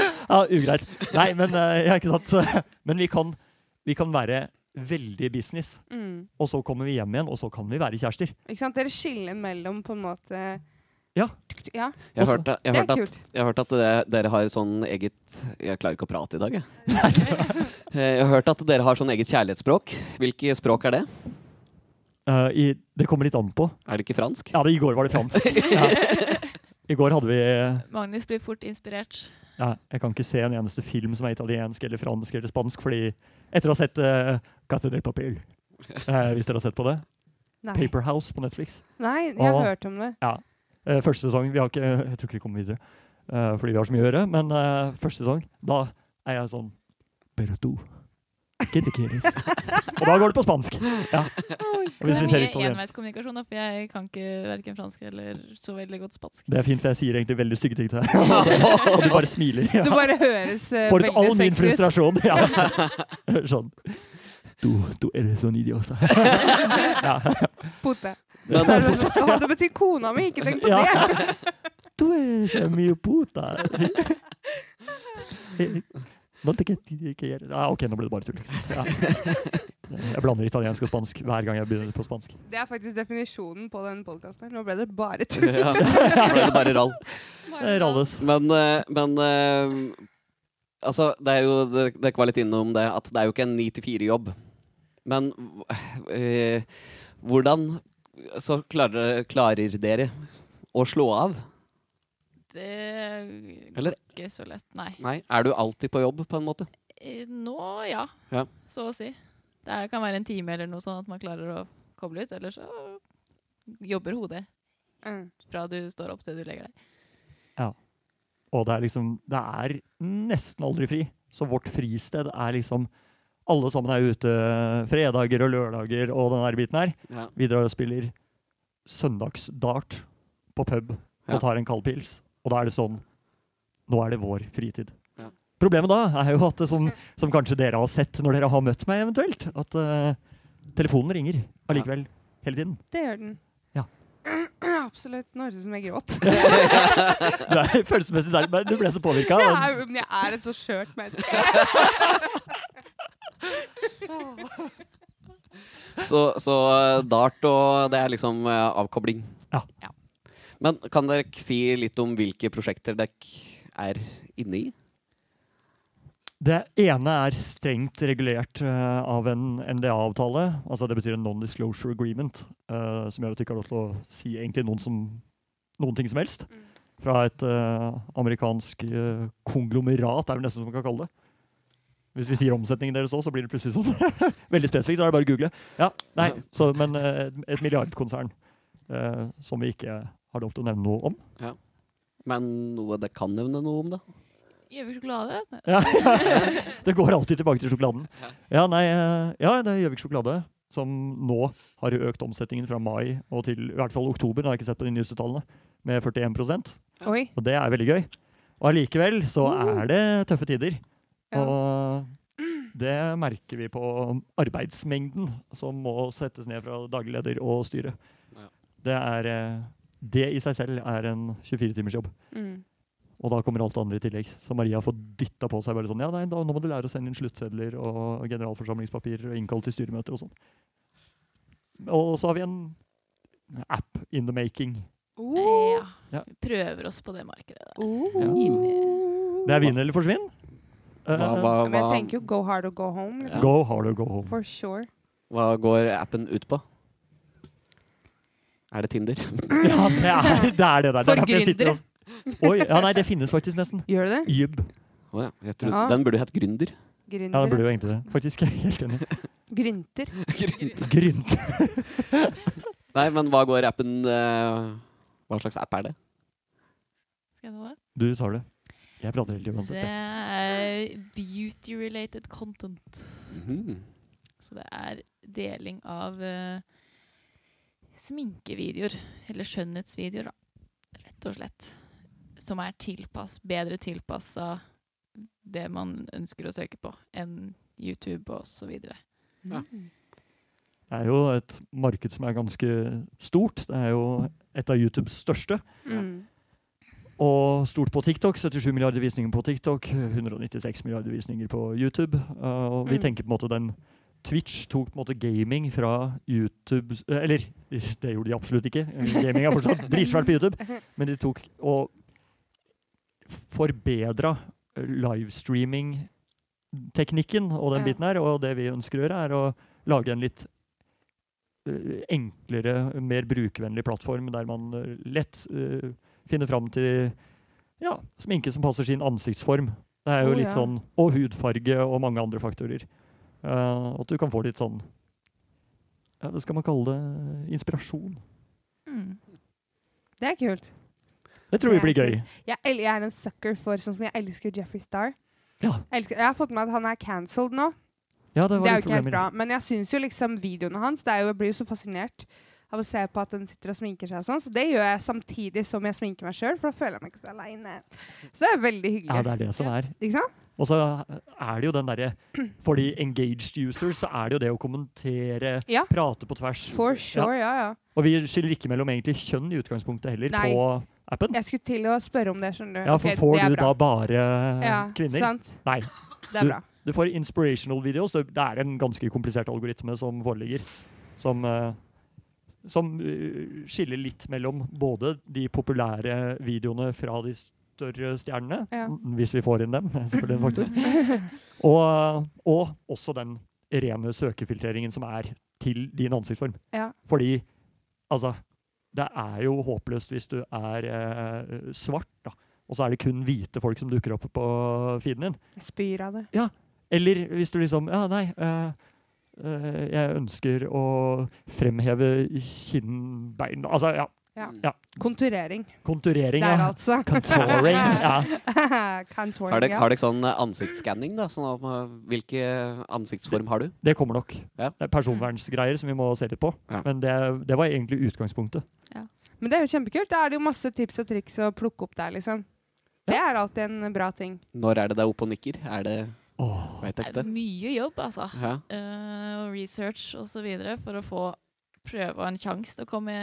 Speaker 1: Ja, ugreit. Nei, men eh, ja, ikke sant. [laughs] Men vi kan, vi kan være veldig business,
Speaker 2: Mm.
Speaker 1: og så kommer vi hjem igjen, og så kan vi være kjærester.
Speaker 2: Ikke sant? Dere skiller mellom på en måte
Speaker 1: Ja.
Speaker 2: Ja,
Speaker 3: Jeg
Speaker 1: Også.
Speaker 3: hørte,
Speaker 2: Det
Speaker 3: jeg
Speaker 2: er
Speaker 3: hørte at,
Speaker 2: kult.
Speaker 3: jeg hørte at dere, dere har sånn eget Jeg klarer ikke å prate i dag, jeg. [laughs] Eh, Jeg har hørt at dere har sånn eget kjærlighetsspråk. Hvilke språk er det?
Speaker 1: Eh, i, det kommer litt an på.
Speaker 3: Er det ikke fransk?
Speaker 1: Ja, det, i går var det fransk. Ja. I går hadde vi Ja,
Speaker 4: Magnus blir fort inspirert.
Speaker 1: jeg kan ikke se en eneste film som er italiensk eller fransk eller spansk, fordi etter å ha sett uh, Cate de Papel, eh, hvis dere har sett på det,
Speaker 2: Nei,
Speaker 1: Paper Ah. House på Netflix
Speaker 2: Nei jeg har
Speaker 1: Åh.
Speaker 2: hørt om [laughs] det.
Speaker 1: Eh, første sesong vi har ikke, Jeg tror ikke vi kommer videre, eh, fordi vi har så mye å gjøre. Men eh, første sesong, da er jeg sånn Berto. Que te quieres?» Og da går det på spansk. Ja. Og hvis
Speaker 4: Det er
Speaker 1: vi ser
Speaker 4: mye
Speaker 1: italiensk
Speaker 4: enveiskommunikasjon, da, for jeg kan ikke verken fransk eller så veldig godt spansk.
Speaker 1: Det er fint, for jeg sier egentlig veldig stygge ting til deg. [laughs] Og du bare smiler. Ja.
Speaker 2: Det bare høres eh,
Speaker 1: For ut all
Speaker 2: veldig
Speaker 1: [laughs] min
Speaker 2: sexy ut.
Speaker 1: frustrasjon. Ja. Sånn. Du, du er sånn [laughs] idiot.
Speaker 2: Pote.
Speaker 3: [laughs] Men-
Speaker 2: Det er veldig sånn, «Åh, det betyr kona mi, ikke tenk på
Speaker 1: Ja.
Speaker 2: det! [laughs]
Speaker 1: Du er så mye e puta. Nå tenker jeg ikke gjøre det. Ja, ok, nå ble det bare tull. ikke sant? Ja. Jeg blander italiensk og spansk hver gang jeg begynner på spansk.
Speaker 2: Det er faktisk definisjonen på den podkasten. Nå ble det bare tull.
Speaker 3: [laughs] Ja, da ble det bare rall.
Speaker 1: Eh, Ralles.
Speaker 3: Men, eh, men eh, Altså, det er jo Dere dere var litt innom det at det er jo ikke en 9-4-jobb. Men eh, hvordan så klarer, klarer dere å slå av?
Speaker 4: Det går
Speaker 3: Eller-
Speaker 4: ikke så lett, nei.
Speaker 3: Nei, Er du alltid på jobb, på en måte?
Speaker 4: Eh, Nå, ja.
Speaker 3: Ja.
Speaker 4: Så å si. Det er- kan være en time eller noe sånn at man klarer å koble ut, eller så jobber hodet
Speaker 2: Mm.
Speaker 4: fra du står opp til du legger deg.
Speaker 1: Og det er liksom Det er nesten aldri fri. Så vårt fristed er liksom Alle sammen er ute fredager og lørdager og den der biten her.
Speaker 3: Ja.
Speaker 1: Vi drar og spiller søndagsdart på pub
Speaker 3: Ja.
Speaker 1: og tar en kald pils. Og da er det sånn Nå er det vår fritid.
Speaker 3: Ja.
Speaker 1: Problemet da er jo at det som, som kanskje dere har sett når dere har møtt meg eventuelt, at eh, telefonen ringer allikevel hele tiden.
Speaker 2: Det gjør den.
Speaker 1: Ja.
Speaker 2: [clears throat] Absolutt. Nå høres det ut som jeg
Speaker 1: [laughs]
Speaker 2: gråt.
Speaker 1: Du er følelsesmessig der, men du ble så påvirka.
Speaker 2: Jeg er, jo- men jeg er et så skjørt menneske.
Speaker 3: Så, så eh, dart og det er liksom eh, avkobling.
Speaker 1: Ja.
Speaker 4: Ja.
Speaker 3: Men kan dere k- si litt om hvilke prosjekter dere er inne i?
Speaker 1: Det ene er strengt regulert eh, av en NDA-avtale. altså Det betyr en non-disclosure agreement, eh, som gjør at du ikke har lov til å si egentlig noen, som, noen ting som helst.
Speaker 2: Mm.
Speaker 1: Fra et eh, amerikansk eh, konglomerat, er det nesten som man kan kalle det. Hvis vi sier omsetningen deres òg, så blir det plutselig sånn. [laughs] Veldig spesifikt, da er det bare å google. Ja, nei, så, Men eh, et milliardkonsern eh, som vi ikke har lov til å nevne noe om.
Speaker 3: Men noe dere kan nevne noe om, da?
Speaker 4: Gjør vi sjokolade? Nei.
Speaker 1: Ja. Det går alltid tilbake til sjokoladen. Ja, nei, eh, ja det er Gjøvik sjokolade. Som nå har økt omsetningen fra mai og til i hvert fall oktober. Nå har jeg ikke sett på de nyeste tallene. Med 41
Speaker 2: [laughs] Oi.
Speaker 1: Og det er veldig gøy. Og allikevel så er det tøffe tider.
Speaker 2: Ja.
Speaker 1: Og det merker vi på arbeidsmengden som må settes ned fra daglig leder og styre.
Speaker 3: Ja.
Speaker 1: Det, er, eh, det i seg selv er en 24-timersjobb.
Speaker 2: Mm.
Speaker 1: Og da kommer alt det andre i tillegg. Så Maria får dytta på seg bare sånn Ja, nei, da, nå må du lære å sende inn sluttsedler og generalforsamlingspapirer og innkalle til styremøter og sånn. Og så har vi en app in the making.
Speaker 2: Oh.
Speaker 1: Ja.
Speaker 4: Ja. Vi prøver oss på det markedet der.
Speaker 2: Oh.
Speaker 1: Det er vinn eller forsvinn.
Speaker 3: Hva,
Speaker 1: Eh,
Speaker 3: hva,
Speaker 2: Men
Speaker 3: hva,
Speaker 2: jeg tenker jo go hard or go home. Liksom.
Speaker 1: Go hard or go home.
Speaker 2: For sure.
Speaker 3: hva går appen ut på? Er det Tinder?
Speaker 1: [laughs]
Speaker 3: [laughs]
Speaker 1: Ja, det
Speaker 2: [laughs]
Speaker 1: er det er det der.
Speaker 2: For
Speaker 1: Det er derfor jeg sitter
Speaker 2: gründere.
Speaker 1: og- Oi, ja, nei, det finnes faktisk nesten.
Speaker 2: Gjør det det?
Speaker 1: Jubb.
Speaker 3: Å ja. Jeg trodde,
Speaker 2: Ja.
Speaker 3: Den burde hett Gründer. [laughs]
Speaker 1: Ja, det burde
Speaker 2: Gründer.
Speaker 1: jo egentlig det. Faktisk, [laughs] jeg er helt enig.
Speaker 2: Grynter.
Speaker 1: Gründ.
Speaker 3: Nei, men hva går appen eh, Hva slags app er det?
Speaker 4: Skal jeg ta det?
Speaker 1: Du tar det. Jeg prater helt uansett.
Speaker 4: Det
Speaker 1: jeg.
Speaker 4: er beauty-related content.
Speaker 3: Mhm.
Speaker 4: Så det er deling av eh, sminkevideoer, eller skjønnhetsvideoer, da. Rett og slett. Som er tilpass, bedre tilpassa det man ønsker å søke på, enn YouTube og så videre.
Speaker 3: Ja.
Speaker 2: Mm.
Speaker 1: Det er jo et marked som er ganske stort. Det er jo et av YouTubes største.
Speaker 2: Mm.
Speaker 1: Og stort på TikTok. 77 milliarder visninger på TikTok. 196 milliarder visninger på YouTube. Uh, og vi
Speaker 2: Mm.
Speaker 1: tenker på en måte den Twitch tok på en måte gaming fra YouTube eh, Eller, [laughs] det gjorde de absolutt ikke. Gaming er fortsatt
Speaker 2: [laughs]
Speaker 1: dritsvært på YouTube. Men de tok og eh, forbedra livestreaming-teknikken og den
Speaker 2: Ja.
Speaker 1: biten her. Og det vi ønsker å gjøre, er å lage en litt eh, enklere, mer brukervennlig plattform der man eh, lett eh, finne fram til ja, sminke som passer sin ansiktsform. Det er jo
Speaker 2: Oh,
Speaker 1: litt
Speaker 2: ja.
Speaker 1: sånn, Og hudfarge og mange andre faktorer. Eh, at du kan få litt sånn ja, Hva skal man kalle det? Inspirasjon.
Speaker 4: Mm.
Speaker 2: Det er kult.
Speaker 1: Det tror vi
Speaker 2: Det
Speaker 1: blir
Speaker 2: er
Speaker 1: gøy.
Speaker 2: Jeg, el- jeg er en sucker for sånn som jeg elsker Jeffrey Star.
Speaker 1: Ja,
Speaker 2: Jeg, elsker, jeg har fått med at han er cancelled nå.
Speaker 1: ja det, var
Speaker 2: Det er
Speaker 1: litt
Speaker 2: jo ikke helt
Speaker 1: problemer.
Speaker 2: bra. Men jeg syns jo liksom videoene hans det er jo, Jeg blir jo så fascinert av å se på at den sitter og sminker seg og sånn. Så det gjør jeg samtidig som jeg sminker meg sjøl, for da føler jeg meg ikke så aleine. Så det er veldig
Speaker 1: Ja,
Speaker 2: hyggelig.
Speaker 1: det er det som er.
Speaker 2: Ikke sant?
Speaker 1: Og så er det jo den
Speaker 2: [clears throat]
Speaker 1: derre For de engaged users så er det jo det å kommentere,
Speaker 2: Ja.
Speaker 1: prate på tvers.
Speaker 2: For
Speaker 1: Ja.
Speaker 2: sure, ja, ja.
Speaker 1: Og vi skiller ikke mellom egentlig kjønn i utgangspunktet heller
Speaker 2: Nei.
Speaker 1: på appen.
Speaker 2: Jeg skulle til å spørre om det, skjønner du.
Speaker 1: Ja,
Speaker 2: Ok,
Speaker 1: for
Speaker 2: det
Speaker 1: får
Speaker 2: er
Speaker 1: du
Speaker 2: bra.
Speaker 1: da bare kvinner?
Speaker 2: Sant?
Speaker 1: Nei.
Speaker 2: Det er bra.
Speaker 1: Du får inspirational videos. Det det er en ganske komplisert algoritme som foreligger. Som, eh, som eh, skiller litt mellom både de populære videoene fra de større stjernene,
Speaker 2: Ja.
Speaker 1: n- hvis vi får inn dem, [laughs] er selvfølgelig en
Speaker 2: [laughs]
Speaker 1: faktor, og, og også den rene søkefiltreringen som er til din ansiktsform.
Speaker 2: Ja.
Speaker 1: Fordi, altså, det er jo håpløst hvis du er eh, svart, da, og så er det kun hvite folk som dukker opp på feeden din.
Speaker 2: Jeg spyr av det.
Speaker 1: Eller hvis du liksom Ja, nei. eh, eh, jeg ønsker å fremheve kinnbein Altså, ja.
Speaker 2: Konturering.
Speaker 1: Konturering,
Speaker 2: Der,
Speaker 1: [laughs] ja.
Speaker 2: altså.
Speaker 1: Contouring. Ja.
Speaker 2: [laughs] Contouring,
Speaker 3: Har dere,
Speaker 2: ja.
Speaker 3: har dere sånn eh, ansiktsskanning, da? Sånn at, eh, hvilke ansiktsform har du?
Speaker 1: Det kommer nok.
Speaker 3: Ja.
Speaker 1: Det er personvernsgreier som vi må se litt på.
Speaker 3: Ja.
Speaker 1: Men det, det var egentlig utgangspunktet.
Speaker 2: Men det er jo kjempekult. Da er det jo masse tips og triks å plukke opp der, liksom. Det er alltid en bra ting.
Speaker 3: Når er det det er opp og nikker? Er det
Speaker 1: Åh.
Speaker 3: Veit
Speaker 4: Det
Speaker 3: jeg ikke
Speaker 4: er
Speaker 3: det.
Speaker 4: mye jobb, altså.
Speaker 3: Ja.
Speaker 4: Eh, og research og så videre for å få prøve en sjanse til å komme,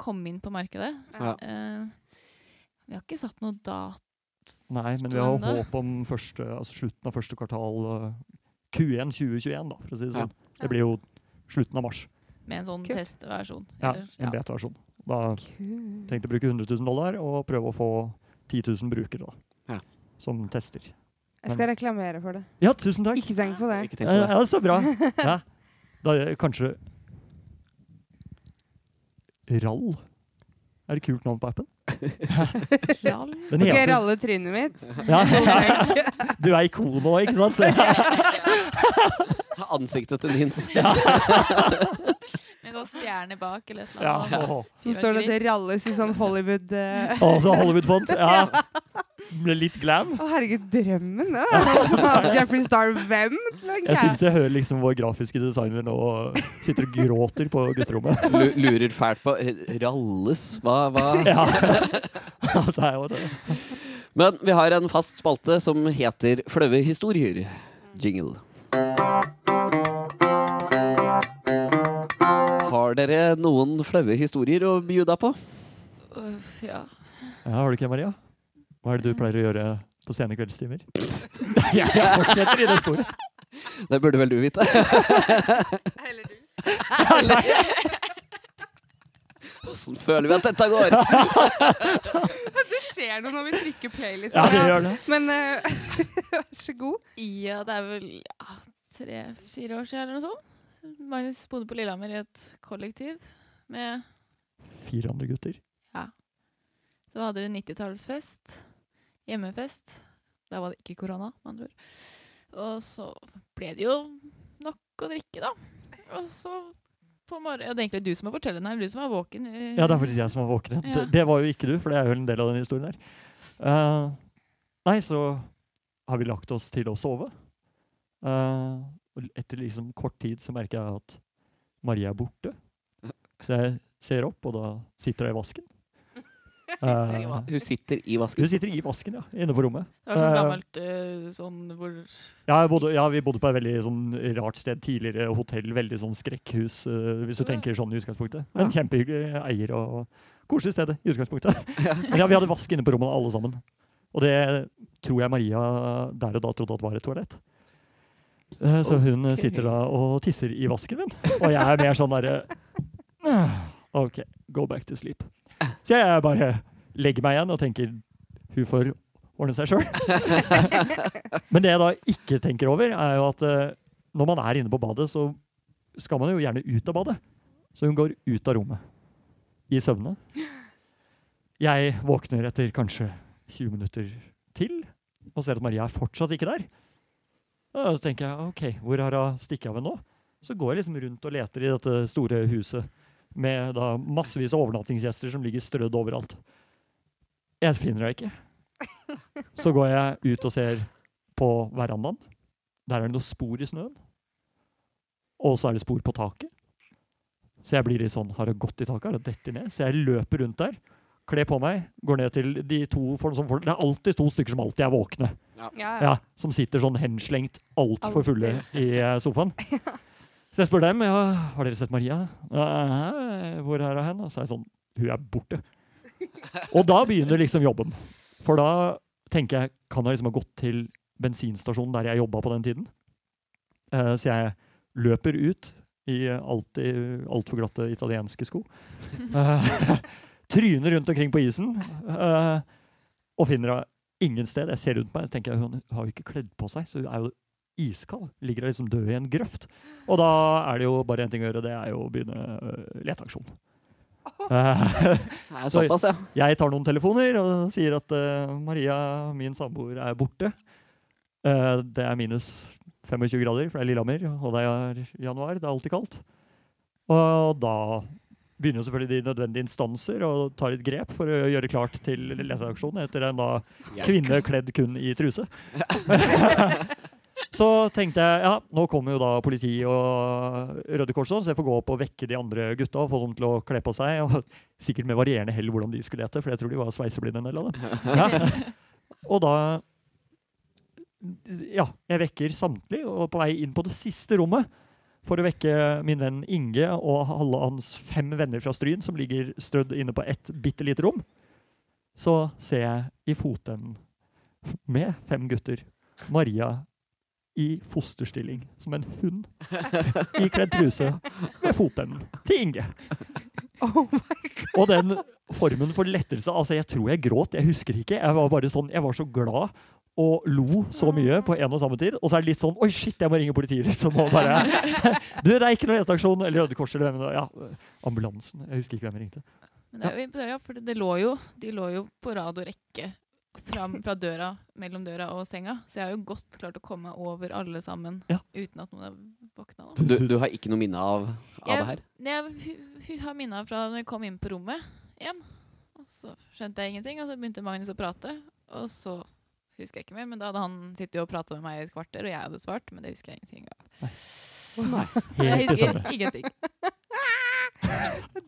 Speaker 4: komme inn på markedet.
Speaker 3: Ja.
Speaker 4: Eh, vi har ikke satt noe dato.
Speaker 1: Nei, men vi har
Speaker 4: Men da-
Speaker 1: håp om første, altså slutten av første kvartal eh, Q1 2021, da, for å si det
Speaker 3: Ja.
Speaker 1: sånn. Det blir jo slutten av mars.
Speaker 4: med en sånn
Speaker 2: Kult.
Speaker 4: testversjon.
Speaker 1: Ja,
Speaker 4: Eller-
Speaker 1: en
Speaker 4: [laughs] ja.
Speaker 1: beta-versjon. Da
Speaker 2: Kult.
Speaker 1: tenkte jeg å bruke 100 000 dollar og prøve å få 10 000 brukere da,
Speaker 3: Ja.
Speaker 1: som tester.
Speaker 2: Jeg skal reklamere for det.
Speaker 1: Ja, tusen takk. Eh,
Speaker 2: Ikke tenk på det.
Speaker 3: Ikke tenk på
Speaker 1: Ja,
Speaker 3: det.
Speaker 1: ja, så bra. Ja. Da gjør jeg kanskje Rall? Er det kult navn på appen?
Speaker 4: Lall.
Speaker 1: Den
Speaker 2: Skal jeg
Speaker 1: heter
Speaker 2: ralle trynet
Speaker 1: [laughs]
Speaker 2: mitt?
Speaker 1: ja. [laughs] Du er ikon nå, ikke sant? Så,
Speaker 3: Ansiktet til din. så- [laughs]
Speaker 4: Med noen stjerner sånn bak eller et
Speaker 1: ja.
Speaker 4: eller annet.
Speaker 1: åh.
Speaker 2: Så står det at det ralles i sånn Hollywood [laughs] eh.
Speaker 1: Åh, så Hollywood-font. Ja. Ble litt glam.
Speaker 2: Å, herregud, drømmen!
Speaker 1: [laughs]
Speaker 2: da. Jeffrey Star hvem?
Speaker 1: Jeg syns jeg hører liksom vår grafiske designer nå sitter og gråter på gutterommet.
Speaker 3: Lu- Lurer fælt på eh, Ralles? Hva, hva?
Speaker 1: Ja. Det er jo det.
Speaker 3: Men vi har en fast spalte som heter Flaue historier. Jingle. Har dere noen flaue historier å bjuda på?
Speaker 4: Uff, ja.
Speaker 1: Ja, har du ikke det, Maria? Hva er det du pleier å gjøre på sene kveldstimer? [laughs] Jeg fortsetter i det sporet.
Speaker 3: Det burde vel du vite. Åssen føler vi at dette går?
Speaker 2: Det skjer noe når vi trykker play,
Speaker 1: Ja,
Speaker 2: liksom.
Speaker 1: det gjør det.
Speaker 2: Men eh, [laughs] vær så god.
Speaker 4: Ja, det er vel ja, tre-fire år siden eller noe sånt. Magnus bodde på Lillehammer i et kollektiv. Med,
Speaker 1: Fire andre gutter.
Speaker 4: så hadde de 90-tallsfest. Hjemmefest. Da var det ikke korona, med andre ord. Og så ble det jo nok å drikke, da. Og så på morgen ja, Det er egentlig du som er fortelleren her. Du som er våken. eh,
Speaker 1: Ja, det er faktisk jeg som var våken.
Speaker 4: Ja.
Speaker 1: Det, det var jo ikke du, for det er jo en del av den historien der. Eh, nei, så har vi lagt oss til å sove. Eh, og etter liksom kort tid så merker jeg at Maria er borte. Så jeg ser opp, og da sitter hun i vasken.
Speaker 4: [laughs] i
Speaker 1: Eh,
Speaker 4: vasken.
Speaker 3: Hun sitter i
Speaker 1: hun
Speaker 3: vasken.
Speaker 1: sitter i vasken, ja. Inne på rommet.
Speaker 4: Det var
Speaker 1: Eh.
Speaker 4: sånn gammelt eh, sånn hvor
Speaker 1: Ja, jeg bodde, ja, vi bodde på et veldig sånn rart sted tidligere. Hotell, veldig sånn skrekkhus, eh, hvis du tenker sånn i utgangspunktet. Men kjempehyggelig eier og og koselig sted i utgangspunktet. Men ja, vi hadde vask inne på rommet, alle sammen. Og det tror jeg Maria der og da trodde at var et toalett. Eh, Så hun eh, sitter da og tisser i vasken min. Og jeg er mer sånn derre «Ah, OK, go back to sleep. Så jeg bare legger meg igjen og tenker hun får ordne seg sjøl. Men det jeg da ikke tenker over, er jo at eh, når man er inne på badet, så skal man jo gjerne ut av badet. Så hun går ut av rommet i søvne. Jeg våkner etter kanskje 20 minutter til og ser at Maria er fortsatt ikke der. Og så tenker jeg OK, hvor har hun stikket av henne nå? Så går jeg liksom rundt og leter i dette store huset med da massevis av overnattingsgjester som ligger strødd overalt. Jeg finner henne ikke. Så går jeg ut og ser på verandaen. Der er det noen spor i snøen. Og så er det spor på taket. Så jeg blir litt sånn Har det gått i taket? Har det dettet ned? Så jeg løper rundt der, kler på meg, går ned til de to for, som for, Det er alltid to stykker som alltid er våkne.
Speaker 2: Ja, ja.
Speaker 1: Ja, som sitter sånn henslengt altfor fulle i eh, sofaen. Så jeg spør dem ja, har dere sett Maria. «Nei, Hvor er hun? Og så er jeg sånn Hun er borte. Og da begynner liksom jobben. For da tenker jeg Kan jeg liksom ha gått til bensinstasjonen der jeg jobba på den tiden? Eh, Så jeg løper ut i alltid altfor glatte italienske sko. Eh, [laughs] Tryner rundt omkring på isen eh, og finner henne ingen sted. Jeg ser rundt meg og tenker jeg, hun har jo ikke kledd på seg, så hun er jo iskald. Ligger der liksom død i en grøft. Og da er det jo bare én ting å gjøre, det er jo å begynne øh, leteaksjon. Eh, [laughs]
Speaker 3: Det er såpass, ja.
Speaker 1: jeg tar noen telefoner og sier at eh, Maria, min samboer, er borte. Eh, det er minus 25 grader, for det er Lillehammer, og det er januar. Det er alltid kaldt. Og da begynner jo selvfølgelig de nødvendige instanser å ta litt grep for å gjøre klart til leteaksjon etter en da kvinne kledd kun i truse. [laughs] Så tenkte jeg ja, nå kommer jo da politi og Røde Kors, også, så jeg får gå opp og vekke de andre gutta og få dem til å kle på seg. og [laughs] Sikkert med varierende hell hvordan de skulle lete, for jeg tror de var sveiseblinde en del av det. Ja. Og da Ja, jeg vekker samtlige, og på vei inn på det siste rommet for å vekke min venn Inge og alle hans fem venner fra Stryn, som ligger strødd inne på ett bitte lite rom, så ser jeg i fotenden med fem gutter Maria i fosterstilling som en hund ikledd truse ved fotenden til Inge.
Speaker 2: Oh
Speaker 1: Og den formen for lettelse Altså, jeg tror jeg gråt, jeg husker ikke. Jeg var bare sånn, jeg var så glad og lo så mye på en og samme tid. Og så er det litt sånn Oi, shit, jeg må ringe politiet, liksom. Og bare [laughs] Du, det er ikke noe leteaksjon. Eller Røde Kors, eller hvem det var. Ja, ambulansen. Jeg husker ikke hvem jeg ringte.
Speaker 4: Men det er jo imponerende, ja, for det- det lå jo, de lå jo på rad og rekke fram fra døra, mellom døra og senga. Så jeg har jo godt klart å komme meg over alle sammen
Speaker 1: Ja.
Speaker 4: uten at noen har våkna. da.
Speaker 3: Du, du har ikke noe minne av, av det her?
Speaker 4: Jeg hu- hu- har minna fra når jeg kom inn på rommet igjen. Og så skjønte jeg ingenting, og så begynte Magnus å prate. Og så husker jeg ikke mer, men da hadde han sittet jo og prata med meg i et kvarter, og jeg hadde svart, men det husker jeg ingenting av. Jeg
Speaker 1: Helt det samme.
Speaker 4: husker ingenting. [laughs]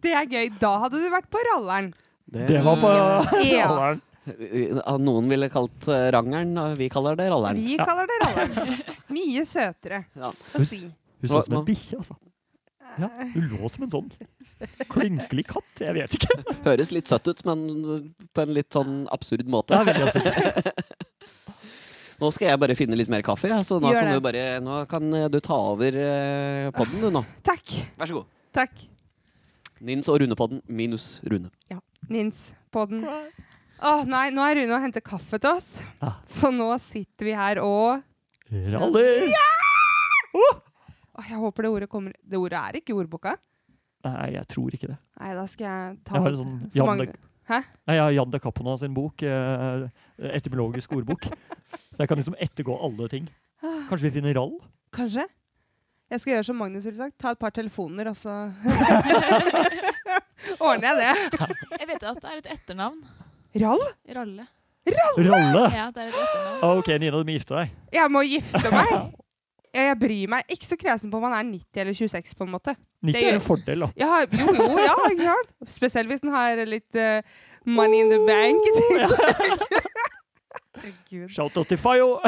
Speaker 2: Det er gøy. Da hadde du vært på ralleren.
Speaker 1: Det var på [laughs]
Speaker 2: Ja.
Speaker 1: alderen.
Speaker 3: Ja, Noen ville kalt eh, rangeren, og vi kaller det ralleren.
Speaker 2: Vi
Speaker 1: Ja.
Speaker 2: kaller det [laughs] ralleren. Mye søtere
Speaker 3: Ja.
Speaker 2: å si.
Speaker 1: Hun så ut som en bikkje, altså. Ja, hun lå som en sånn klinkelig katt. Jeg vet ikke.
Speaker 3: Høres litt søtt ut, men på en litt sånn absurd måte.
Speaker 1: Ja, veldig absurd.
Speaker 3: Nå skal jeg bare finne litt mer kaffe, ja, så nå
Speaker 2: Gjør
Speaker 3: kan,
Speaker 2: det.
Speaker 3: du bare, nå kan eh, du ta over eh, podden, du nå.
Speaker 2: Takk.
Speaker 3: Vær så god.
Speaker 2: Takk.
Speaker 3: Nins og Runepodden minus Rune.
Speaker 2: Nins på den. Å nei, nå er Rune og henter kaffe til oss.
Speaker 1: Ah.
Speaker 2: Så nå sitter vi her og
Speaker 1: Raller!
Speaker 2: Å, Jeg håper det ordet kommer Det ordet er ikke i ordboka.
Speaker 1: Nei, jeg tror ikke det.
Speaker 2: Nei, da skal jeg ta
Speaker 1: Jeg har en sånn
Speaker 2: så
Speaker 1: Jan
Speaker 2: mange-
Speaker 1: de,
Speaker 2: Hæ?
Speaker 1: Nei, jeg har Jan de Capona sin bok, eh, etymologisk ordbok. Så jeg kan liksom ettergå alle ting. Kanskje vi finner rall?
Speaker 2: Kanskje? Jeg skal gjøre som Magnus ville sagt. Ta et par telefoner, og så [laughs] ordner jeg det.
Speaker 4: Jeg vet at det er et etternavn.
Speaker 2: Rall?
Speaker 4: Ralle.
Speaker 1: Ralle!
Speaker 4: Ja, det er et etternavn.
Speaker 1: Ok, Nina, du må gifte deg.
Speaker 2: Jeg må gifte [laughs] meg. Ja, jeg bryr meg ikke så kresen på om han er 90 eller 26, på en måte.
Speaker 1: 90 er en fordel, da.
Speaker 2: Jeg har, jo, jo, ja, ikke sant? Spesielt hvis den har litt eh, money in the bank. [laughs] Gud.
Speaker 1: Shout out til Fayo!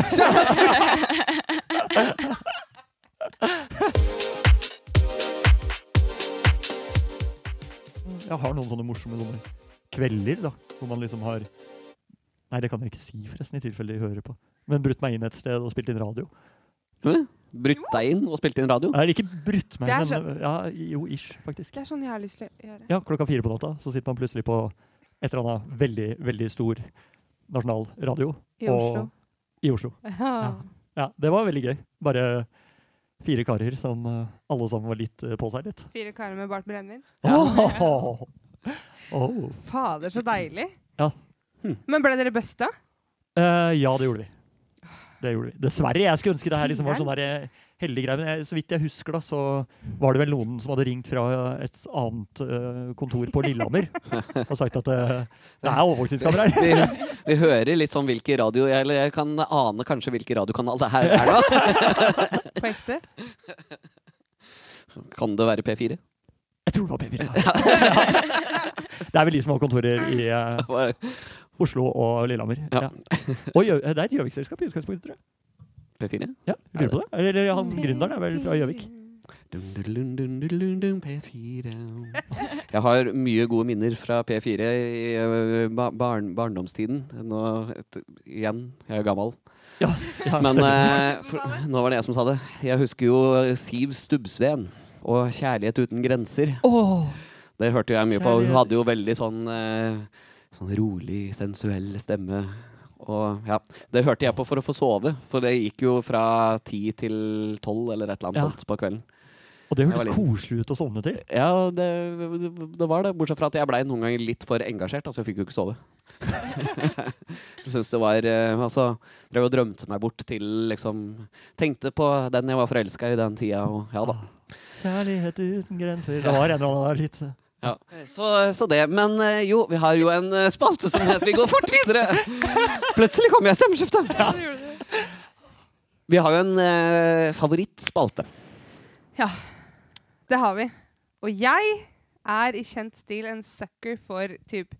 Speaker 1: Jeg har noen sånne morsomme sånne kvelder, da, hvor man liksom har Nei, det kan jeg ikke si, forresten, i tilfelle de hører på. Men brutt meg inn et sted og spilt inn radio.
Speaker 3: Hæ? Brutt deg inn og spilte inn radio.
Speaker 1: Nei, ikke brutt meg,
Speaker 2: Det er
Speaker 1: men ja, jo, ish, faktisk.
Speaker 2: Det er sånn jeg har lyst til å gjøre.
Speaker 1: Ja, klokka fire på natta, så sitter man plutselig på et eller annet veldig, veldig stor nasjonal radio
Speaker 2: I Oslo.
Speaker 1: i Oslo.
Speaker 2: Ja.
Speaker 1: Ja, det var veldig gøy. Bare fire karer som eh, alle sammen var litt eh, på seg litt.
Speaker 2: Fire karer med bart brennevin.
Speaker 1: [laughs] Åh! Åh.
Speaker 2: Fader, så deilig.
Speaker 1: Ja.
Speaker 3: Hm.
Speaker 2: Men ble dere busta?
Speaker 1: Eh, ja, det gjorde vi. Det gjorde vi. Dessverre. Jeg skulle ønske det her liksom var sånn der, eh, heldig greie, men jeg, så vidt jeg husker, da, så var det vel noen som hadde ringt fra et annet eh, kontor på Lillehammer og sagt at eh, det er overvåkningskamera her.
Speaker 3: Vi, vi hører litt sånn hvilke radio Eller jeg kan ane kanskje hvilken radiokanal det her er, [laughs] da.
Speaker 2: På ekte?
Speaker 3: [laughs] Kan det være P4?
Speaker 1: Jeg tror det var P4. Det er vel de som har kontorer i eh,
Speaker 3: Bare-
Speaker 1: Oslo og Lillehammer.
Speaker 3: Ja.
Speaker 1: Ja. Og Gjø- eh, det er et Gjøvik-selskap i utgangspunktet, tror jeg.
Speaker 3: P4?
Speaker 1: Ja, jeg lurer på det. Eller, eller han gründeren er vel fra Gjøvik.
Speaker 3: Dun, dun, dun, dun, dun, dun, dun, P4. [laughs] Jeg har mye gode minner fra P4 i eh, ba barn barndomstiden. Nå, et, igjen, jeg er gammel.
Speaker 1: Ja, ja,
Speaker 3: Men
Speaker 1: stemmer.
Speaker 3: eh, for, nå var det jeg som sa det. Jeg husker jo Siv Stubbsveen og 'Kjærlighet uten grenser'.
Speaker 1: Åh,
Speaker 3: Det hørte jeg mye på. Hun
Speaker 1: Kjærlighet.
Speaker 3: hadde jo veldig sånn, eh, sånn rolig, sensuell stemme. Og ja, Det hørte jeg på for å få sove, for det gikk jo fra ti til tolv eller et eller annet
Speaker 1: Ja.
Speaker 3: sånt på kvelden.
Speaker 1: og det
Speaker 3: Jeg
Speaker 1: hørtes
Speaker 3: var
Speaker 1: koselig ut å sovne til.
Speaker 3: Ja, det, det var det. Bortsett fra at jeg blei noen ganger litt for engasjert. Altså, jeg fikk jo ikke sove. [laughs] jeg syns det var eh, Altså, drev og drømte meg bort til liksom Tenkte på den jeg var forelska i den tida, og ja
Speaker 2: Ah.
Speaker 3: da.
Speaker 1: Kjærlighet uten grenser. Det var en eller annen der litt eh,
Speaker 3: Ja. Så, så det. Men eh, jo, vi har jo en eh, spalte som heter Vi går fort
Speaker 2: [laughs]
Speaker 3: videre! Plutselig kom jeg i stemmeskiftet!
Speaker 4: Ja, det gjorde du.
Speaker 3: Vi har jo en eh, favorittspalte.
Speaker 2: Det har vi. Og jeg er i kjent stil en sucker for typ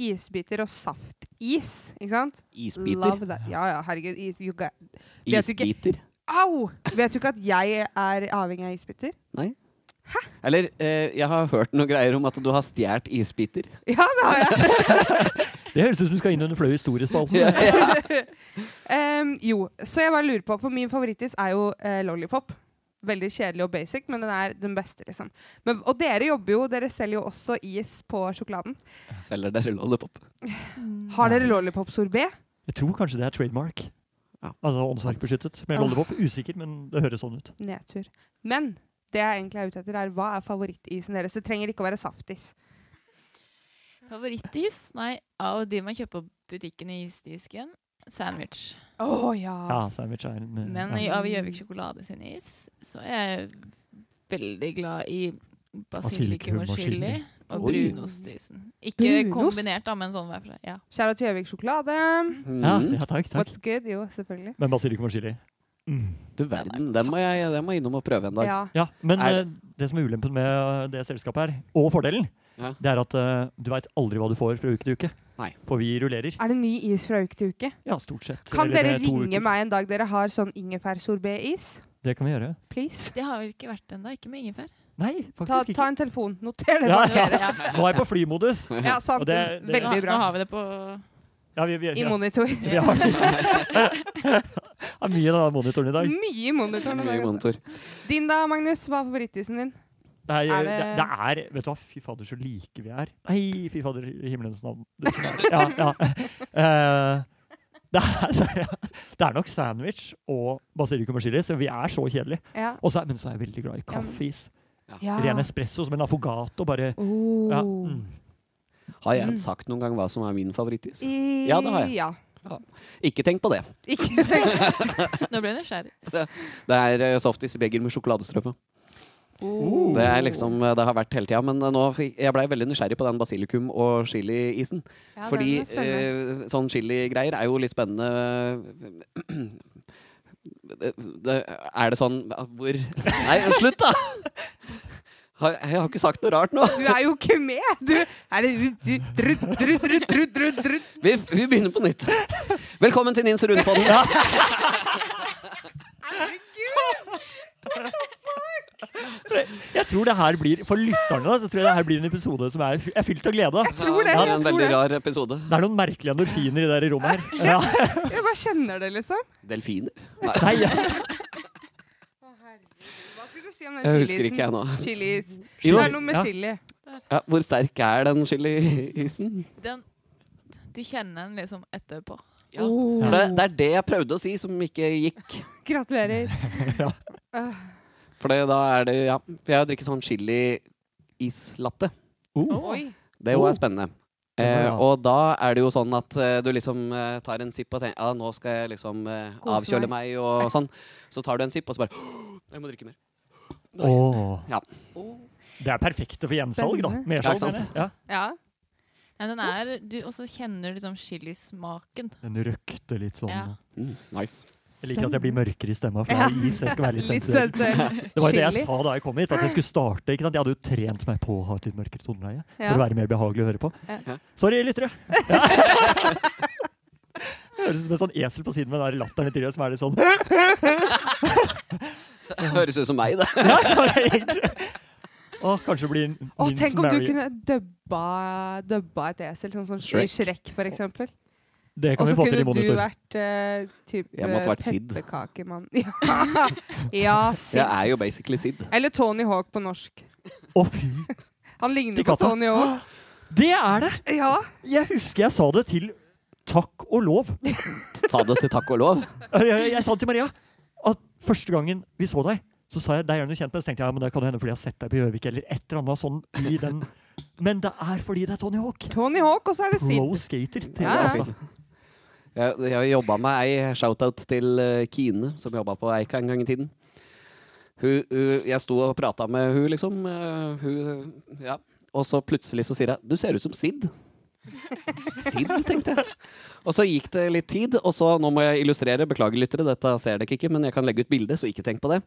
Speaker 2: isbiter og saftis, ikke sant?
Speaker 3: Isbiter.
Speaker 2: Love that. Ja, ja, herregud. Is, you got- Vet du ikke-
Speaker 3: Isbiter.
Speaker 2: Au! Vet du ikke at jeg er avhengig av isbiter?
Speaker 3: Eller eh, jeg har hørt noen greier om at du har stjålet isbiter.
Speaker 2: Ja, det har jeg. [laughs]
Speaker 1: Det høres ut som du skal inn under flau historiespalten.
Speaker 2: Em, jo, så jeg bare lurer på, for min favorittis er jo eh, Lollipop. Veldig kjedelig og basic, men den er den beste, liksom. Men, og dere jobber jo, dere selger jo også is på sjokoladen.
Speaker 3: Selger dere lollipop?
Speaker 4: Mm.
Speaker 2: Har dere lollipop-sorbé?
Speaker 1: Jeg tror kanskje det er trademark.
Speaker 3: Ja.
Speaker 1: Altså åndsverkbeskyttet med
Speaker 2: Ah.
Speaker 1: lollipop. Usikker, men det høres sånn ut.
Speaker 2: Nedtur. Men det jeg egentlig er ute etter, er hva er favorittisen deres? Det trenger ikke å være saftis.
Speaker 4: Favorittis? Nei, av de man kjøper på butikken i isdisken. Sandwich.
Speaker 2: Å ja.
Speaker 1: Ja, sandwich er en eh,
Speaker 4: Men i-
Speaker 1: ja.
Speaker 4: av Gjøvik sjokolade sin is, så er jeg veldig glad i
Speaker 1: Basilikum
Speaker 4: basilikum
Speaker 1: og
Speaker 4: og chili
Speaker 1: chili.
Speaker 4: og
Speaker 3: Oi.
Speaker 4: brunostisen. Ikke
Speaker 2: Brunost?
Speaker 4: kombinert, da, men sånn hver for seg. Ja.
Speaker 2: Kjære til Gjøvik sjokolade.
Speaker 1: Ja,
Speaker 2: Mm.
Speaker 1: ja, takk, takk.
Speaker 2: What's good? Jo, selvfølgelig.
Speaker 1: Men basilikum og chili. Mm.
Speaker 3: Du verden, den må jeg den må jeg innom og prøve en dag.
Speaker 2: Ja.
Speaker 1: Ja, men
Speaker 3: Er
Speaker 1: eh, det som er ulempen med eh, det selskapet her, og fordelen,
Speaker 3: Ja.
Speaker 1: det er at eh, du veit aldri hva du får fra uke til uke.
Speaker 3: Nei.
Speaker 1: For vi rullerer.
Speaker 2: Er det ny is fra uke til uke?
Speaker 1: Ja, stort sett.
Speaker 2: Kan
Speaker 1: Eller,
Speaker 2: dere
Speaker 1: eh, to
Speaker 2: ringe
Speaker 1: uker.
Speaker 2: meg en dag dere har sånn ingefærsorbé-is?
Speaker 1: Det kan vi gjøre.
Speaker 2: Please.
Speaker 4: Det har vel ikke vært ennå, ikke med ingefær.
Speaker 1: Nei,
Speaker 2: Ta,
Speaker 1: faktisk
Speaker 2: ta en telefon. Noter det.
Speaker 1: Ja,
Speaker 2: bak.
Speaker 1: ja.
Speaker 4: Ja.
Speaker 1: ikke. Nå er jeg på flymodus.
Speaker 2: Ja, sant.
Speaker 1: Og det- det-
Speaker 2: Veldig
Speaker 4: Nå, nå
Speaker 2: bra.
Speaker 4: har vi det på
Speaker 1: Ja, vi, vi,
Speaker 2: I
Speaker 1: ja.
Speaker 2: monitor.
Speaker 1: vi har Det er mye av monitoren i dag.
Speaker 2: Mye i monitoren. i
Speaker 3: Mye
Speaker 2: dag, altså.
Speaker 3: monitor.
Speaker 2: Din da, Magnus. Hva er favorittisen din?
Speaker 1: Det er,
Speaker 2: Er
Speaker 1: det...
Speaker 2: det-
Speaker 1: Det, er Vet du hva, fy fader, så like vi er. Nei, fy fader, i himmelens navn. Det som er- Ja, ja. Eh, det, er, [laughs] så, ja. det er nok sandwich og basilikum og chili, så vi er så kjedelige.
Speaker 2: Ja.
Speaker 1: Og så er- Men så er jeg veldig glad i kaffeis.
Speaker 2: ja.
Speaker 1: Ren espresso som en affogato, bare
Speaker 2: Oh.
Speaker 1: ja. mm.
Speaker 3: Har jeg
Speaker 2: Mm.
Speaker 3: sagt noen gang hva som er min favorittis?
Speaker 2: I-
Speaker 3: Ja, det har jeg.
Speaker 2: Ja.
Speaker 3: Ikke tenk på det.
Speaker 2: Ikke [laughs]
Speaker 3: [laughs]
Speaker 4: Nå ble jeg nysgjerrig.
Speaker 3: Det er eh, softis i beger med sjokoladestrømme. Det er liksom, eh, det har vært hele tida. Men eh, nå fikk, jeg blei veldig nysgjerrig på den basilikum- og chiliisen.
Speaker 2: Ja, den
Speaker 3: Fordi
Speaker 2: er spennende.
Speaker 3: eh, sånn chili-greier er jo litt spennende. Det, det, er det sånn Hvor Nei,
Speaker 2: [laughs]
Speaker 3: slutt, da! Har, jeg har ikke sagt noe rart nå.
Speaker 2: Du er jo ikke med! Du er det du, drutt, drutt, drutt, drutt, drutt, drutt.
Speaker 3: Vi, vi begynner på nytt. Velkommen til Nins runde på den.
Speaker 1: Jeg tror det her blir For lytterne da, så tror jeg det her blir en episode som er, f- er fylt av glede.
Speaker 2: Jeg tror det.
Speaker 3: Ja,
Speaker 2: Jeg,
Speaker 3: en
Speaker 2: tror
Speaker 3: veldig
Speaker 2: det.
Speaker 3: rar episode.
Speaker 1: Det er noen merkelige endorfiner i det her
Speaker 2: [laughs]
Speaker 1: rommet her. Ja.
Speaker 2: jeg bare kjenner det, liksom.
Speaker 3: Delfiner?
Speaker 1: Nei,
Speaker 3: Nei,
Speaker 2: Hva skulle du si om den
Speaker 3: jeg husker ikke jeg nå.
Speaker 2: Chilis.
Speaker 1: Jo,
Speaker 2: Det er noe med
Speaker 1: ja.
Speaker 2: chili.
Speaker 3: Ja, hvor sterk er den chiliisen?
Speaker 4: Den, du kjenner den liksom etterpå.
Speaker 3: Ja. For
Speaker 2: Oh.
Speaker 3: det, det er det jeg prøvde å si som ikke gikk.
Speaker 2: Gratulerer.
Speaker 1: Ja.
Speaker 2: Øh,
Speaker 3: For det, da er det Ja. For jeg drikker sånn chili-islatte.
Speaker 1: oh.
Speaker 4: Oi.
Speaker 2: Oi.
Speaker 3: Det
Speaker 1: Oh.
Speaker 3: var spennende. Eh,
Speaker 1: Ja.
Speaker 3: og da er det jo sånn at eh, du liksom eh, tar en sipp og tenker ja, nå skal jeg liksom eh,
Speaker 2: Kose
Speaker 3: avkjøle meg og sånn. Så tar du en sipp, og så bare Jeg må drikke mer.
Speaker 1: Åh.
Speaker 3: Ja.
Speaker 1: Det er perfekte for gjensalg, da.
Speaker 2: Spennende.
Speaker 1: Mersalg,
Speaker 3: Ja, ikke
Speaker 1: mener jeg. Ja.
Speaker 2: Ja.
Speaker 4: Nei, den er, du, og så kjenner du liksom chilismaken.
Speaker 1: Den røkte litt sånn.
Speaker 4: Ja.
Speaker 3: Mm, nice.
Speaker 1: Jeg liker at jeg blir mørkere i stemma, for det er is. Jeg skal være litt
Speaker 2: Litt
Speaker 1: sensuell.
Speaker 2: sensuell.
Speaker 1: [laughs] Det var jo det jeg
Speaker 2: chili.
Speaker 1: sa da jeg kom hit, at jeg skulle starte. ikke sant? Jeg hadde jo trent meg på å ha et litt mørkere toneleie for
Speaker 2: Ja.
Speaker 1: å være mer behagelig å høre på.
Speaker 2: Ja.
Speaker 1: Sorry,
Speaker 2: [laughs]
Speaker 1: lyttere. [laughs] Ja. Jeg høres ut som en sånn esel på siden med den der latteren i tidligere som er litt sånn [laughs]
Speaker 3: Det høres ut som meg, det.
Speaker 1: Ja, egentlig. Å, kanskje det blir
Speaker 2: Å,
Speaker 1: Nins
Speaker 2: tenk om du
Speaker 1: Mary.
Speaker 2: kunne dubba, dubba et esel, sånn som i Shrek, for eksempel.
Speaker 1: Det
Speaker 2: Og
Speaker 1: kan vi
Speaker 2: så
Speaker 1: få til
Speaker 2: kunne
Speaker 1: i
Speaker 2: du
Speaker 1: monitor.
Speaker 2: vært eh, typ
Speaker 3: Jeg måtte
Speaker 2: eh,
Speaker 3: vært Sid.
Speaker 2: pepperkakemann. [laughs] Ja, ja Sid.
Speaker 3: Jeg er jo basically Sid.
Speaker 2: Eller Tony Hawk på norsk.
Speaker 1: Å, fy!
Speaker 2: Han ligner
Speaker 1: Til
Speaker 2: på
Speaker 1: katta.
Speaker 2: Tony Hawk.
Speaker 1: Det er det!
Speaker 2: Ja.
Speaker 1: Jeg husker jeg sa det til takk og lov.
Speaker 3: Sa det til takk og lov.
Speaker 1: Jeg, jeg, jeg sa det til Maria at første gangen vi så deg, så sa jeg deg er du kjent med. Så tenkte jeg ja, men det kan hende fordi jeg har sett deg på Gjøvik eller et eller annet sånn i den. Men det er fordi det er Tony Hawk.
Speaker 2: Tony Hawk, og så er det Sid.
Speaker 1: Pro skater. Til,
Speaker 2: Ja, ja.
Speaker 1: altså.
Speaker 3: Jeg, jeg jobba med ei shout-out til eh, Kine, som jobba på Eika en gang i tiden. Hun, hun, jeg sto og prata med hun, liksom. eh, hun, ja. Og så plutselig så sier jeg 'du ser ut som Sid'. Sid, tenkte jeg. Og så gikk det litt tid, og så nå må jeg illustrere. Beklager, lyttere, dette ser dere ikke, men jeg kan legge ut bilde, så ikke tenk på det.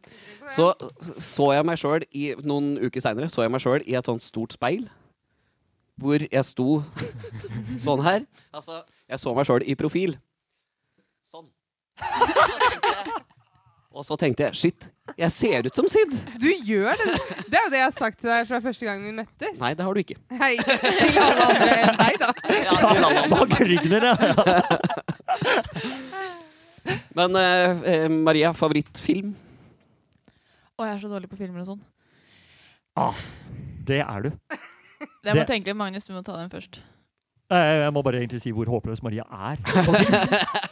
Speaker 3: Så så jeg meg sjøl noen uker seinere, så jeg meg sjøl i et sånt stort speil. Hvor jeg sto [laughs] sånn her. Altså, jeg så meg sjøl i profil. Sånn. Så tenkte jeg- Og så tenkte jeg shit, jeg ser ut som Sid.
Speaker 2: Du gjør det! Det er jo det jeg har sagt til deg fra første gang vi møttes.
Speaker 3: Nei, det har du ikke.
Speaker 2: Hei, til alle andre enn deg, da.
Speaker 3: Ja, til alle andre.
Speaker 1: Bak ryggen din, ja.
Speaker 3: Men eh, eh, Maria, favorittfilm?
Speaker 4: Å, jeg er så dårlig på filmer og sånn.
Speaker 1: Det er du.
Speaker 4: Jeg må
Speaker 1: Det-
Speaker 4: tenke, Magnus, du må ta den først.
Speaker 1: Eh, Jeg må bare egentlig si hvor håpløs Maria er.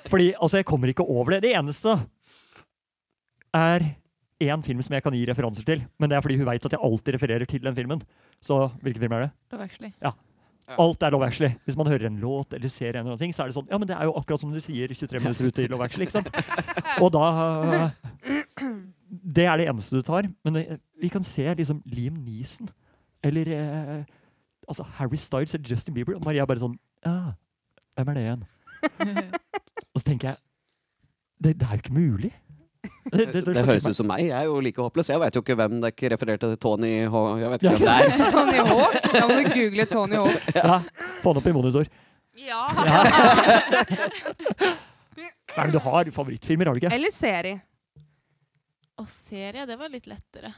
Speaker 1: Fordi altså, jeg kommer ikke over det. Det eneste er én film som jeg kan gi referanser til. Men det er fordi hun veit at jeg alltid refererer til den filmen. Så hvilken film er det?
Speaker 4: Det
Speaker 2: [laughs]
Speaker 4: var actually.
Speaker 1: Alt er Love Actually. Hvis man hører en låt eller ser en eller annen ting, så er det sånn Ja, men det er jo akkurat som du sier 23 minutter ut i Love Actually, ikke sant? Og da Det er det eneste du tar. Men eh, vi kan se liksom Liam Neeson eller eh, altså Harry Styles eller Justin Bieber, og Maria er bare sånn Ja, hvem er det igjen? Og så tenker jeg Det, det er jo ikke mulig. Det,
Speaker 3: Det, høres ut som meg. Jeg er jo like håpløs. Jeg veit jo ikke hvem det ikke refererte til. Tony H... Jeg vet ikke hvem det
Speaker 2: [laughs]
Speaker 3: er.
Speaker 1: [laughs]
Speaker 2: Tony Hawk. Da må du google Tony Hawk.
Speaker 1: Ja, Få den opp i monitor.
Speaker 2: Ja. [laughs]
Speaker 1: Nei, men du har favorittfilmer, har du ikke?
Speaker 2: Eller serie.
Speaker 4: Og serie, det var litt lettere.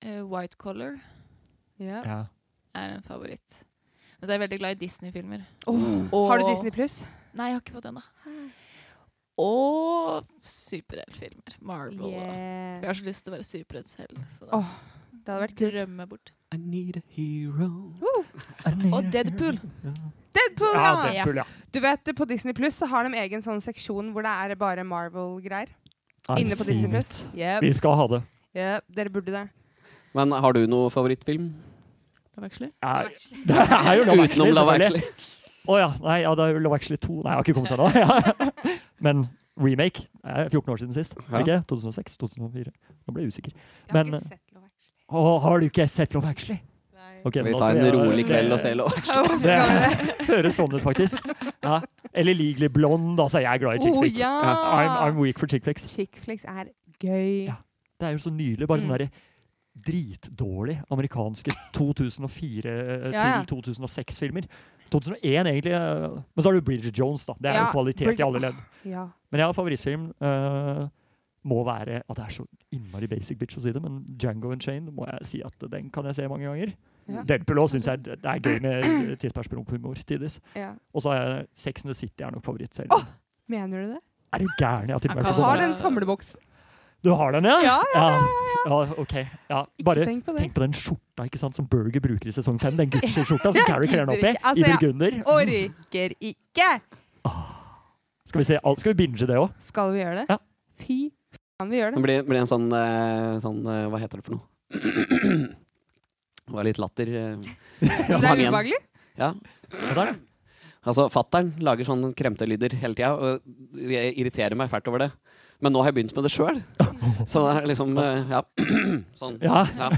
Speaker 4: Eh, White Collar
Speaker 2: Ja.
Speaker 1: Ja.
Speaker 4: er en favoritt. Men så er jeg veldig glad i Disney-filmer.
Speaker 2: Åh,
Speaker 3: Mm.
Speaker 4: Og-
Speaker 2: Har du Disney pluss?
Speaker 4: Nei, jeg har ikke fått den, da. Og superheltfilmer. Marvel. og- Jeg
Speaker 2: Yeah.
Speaker 4: har så lyst til å være superhelt selv. Så
Speaker 2: Åh,
Speaker 4: da
Speaker 2: Det hadde vært kult.
Speaker 4: drømmer jeg bort.
Speaker 3: I need a hero.
Speaker 4: Og Deadpool.
Speaker 2: Deadpool,
Speaker 1: Ja,
Speaker 2: ja.
Speaker 1: Deadpool, ja.
Speaker 2: Du vet, På Disney Pluss har de egen sånn seksjon hvor det er bare Marvel-greier.
Speaker 1: Nei,
Speaker 2: Inne på
Speaker 1: si
Speaker 2: Disney
Speaker 1: mitt.
Speaker 2: Pluss. Yep.
Speaker 1: Vi skal ha det.
Speaker 2: Yep. Dere burde det.
Speaker 3: Men har du noe favorittfilm?
Speaker 4: Det var actually.
Speaker 1: [laughs] Nei, Det er jo Love Actually,
Speaker 3: Utenom Love
Speaker 1: selvfølgelig.
Speaker 3: Actually.
Speaker 1: Å ja. Nei, ja, det er jo Love Actually 2. Nei, jeg har ikke kommet ennå. [laughs] Ja.
Speaker 2: [laughs]
Speaker 1: Men remake det er 14 år siden sist.
Speaker 3: Ja.
Speaker 1: Ikke? 2006? 2004? Nå ble jeg usikker.
Speaker 2: Jeg har
Speaker 1: Men- eh,
Speaker 2: ikke sett Love Actually.
Speaker 1: Å, har du ikke sett Love Actually?
Speaker 2: Nei.
Speaker 1: Ok,
Speaker 3: Skal
Speaker 1: men
Speaker 3: vi
Speaker 1: da
Speaker 3: ta
Speaker 1: skal
Speaker 3: en
Speaker 1: jeg- det-
Speaker 3: rolig kveld og
Speaker 1: [laughs]
Speaker 3: se Love Actually?
Speaker 2: Åh, skal vi det?
Speaker 1: Det høres sånn ut, faktisk. Ja. Eller Legally Blonde, altså. Jeg er glad i chick
Speaker 2: Å
Speaker 1: flick.
Speaker 2: Oh, ja!
Speaker 1: I'm, I'm weak for chick flicks.
Speaker 2: Chick flicks er gøy.
Speaker 1: Ja. Det er jo så nydelig. Bare sånn
Speaker 2: Mm.
Speaker 1: derre dritdårlig amerikanske 2004 eh,
Speaker 2: Ja, ja.
Speaker 1: til 2006-filmer. 2001, egentlig. eh, Men så har du Bridget Jones, da. Det er
Speaker 2: Ja,
Speaker 1: jo kvalitet
Speaker 2: Bridget-
Speaker 1: i alle ledd.
Speaker 2: Ja.
Speaker 1: Men jeg har favorittfilm. eh, må være at det er så innmari basic bitch å si det, men Django and Chain må jeg si at den kan jeg se mange ganger.
Speaker 2: Ja.
Speaker 1: Deadpool òg syns jeg det er gøy med tidsperspektivhumor tidvis.
Speaker 2: ja.
Speaker 1: Og så er Sex and the City er nok favorittserien.
Speaker 2: Åh! Mener du det?
Speaker 1: Er du gæren? Jeg har til og
Speaker 4: Jeg
Speaker 1: med
Speaker 4: kan
Speaker 1: vært på
Speaker 4: ha
Speaker 2: Har
Speaker 1: sånn.
Speaker 4: det.
Speaker 2: den samleboksen.
Speaker 1: Du har den, ja?
Speaker 2: Ja, ja, ja,
Speaker 1: ja, ja OK. Ja,
Speaker 2: Ikke
Speaker 1: bare
Speaker 2: tenk på det.
Speaker 1: Tenk på den skjorta ikke sant, som Burger bruker i sesong fem. Den Gucci-skjorta som
Speaker 2: [laughs] Jeg
Speaker 1: Carrie kler den opp i.
Speaker 2: gidder ikke. Altså,
Speaker 1: I
Speaker 2: jeg-
Speaker 1: burgunder.
Speaker 2: Orker ikke!
Speaker 1: Skal vi, se, alt- skal vi binge det òg?
Speaker 2: Skal vi gjøre det?
Speaker 1: Ja.
Speaker 2: Fy faen, vi gjør
Speaker 3: Det
Speaker 2: det.
Speaker 3: blir, blir en sånn, eh, sånn eh, Hva heter det for noe? [clears throat] Det var litt latter. eh.
Speaker 2: Så det
Speaker 3: hang
Speaker 2: er
Speaker 3: igjen.
Speaker 2: ubehagelig.
Speaker 3: Ja. Altså, Fattern lager sånne kremte lyder hele tida, og jeg irriterer meg fælt over det. Men nå har jeg begynt [clears throat] med det sjøl. Så det er liksom eh, Ja. Sånn.
Speaker 1: Ja.
Speaker 3: Ja.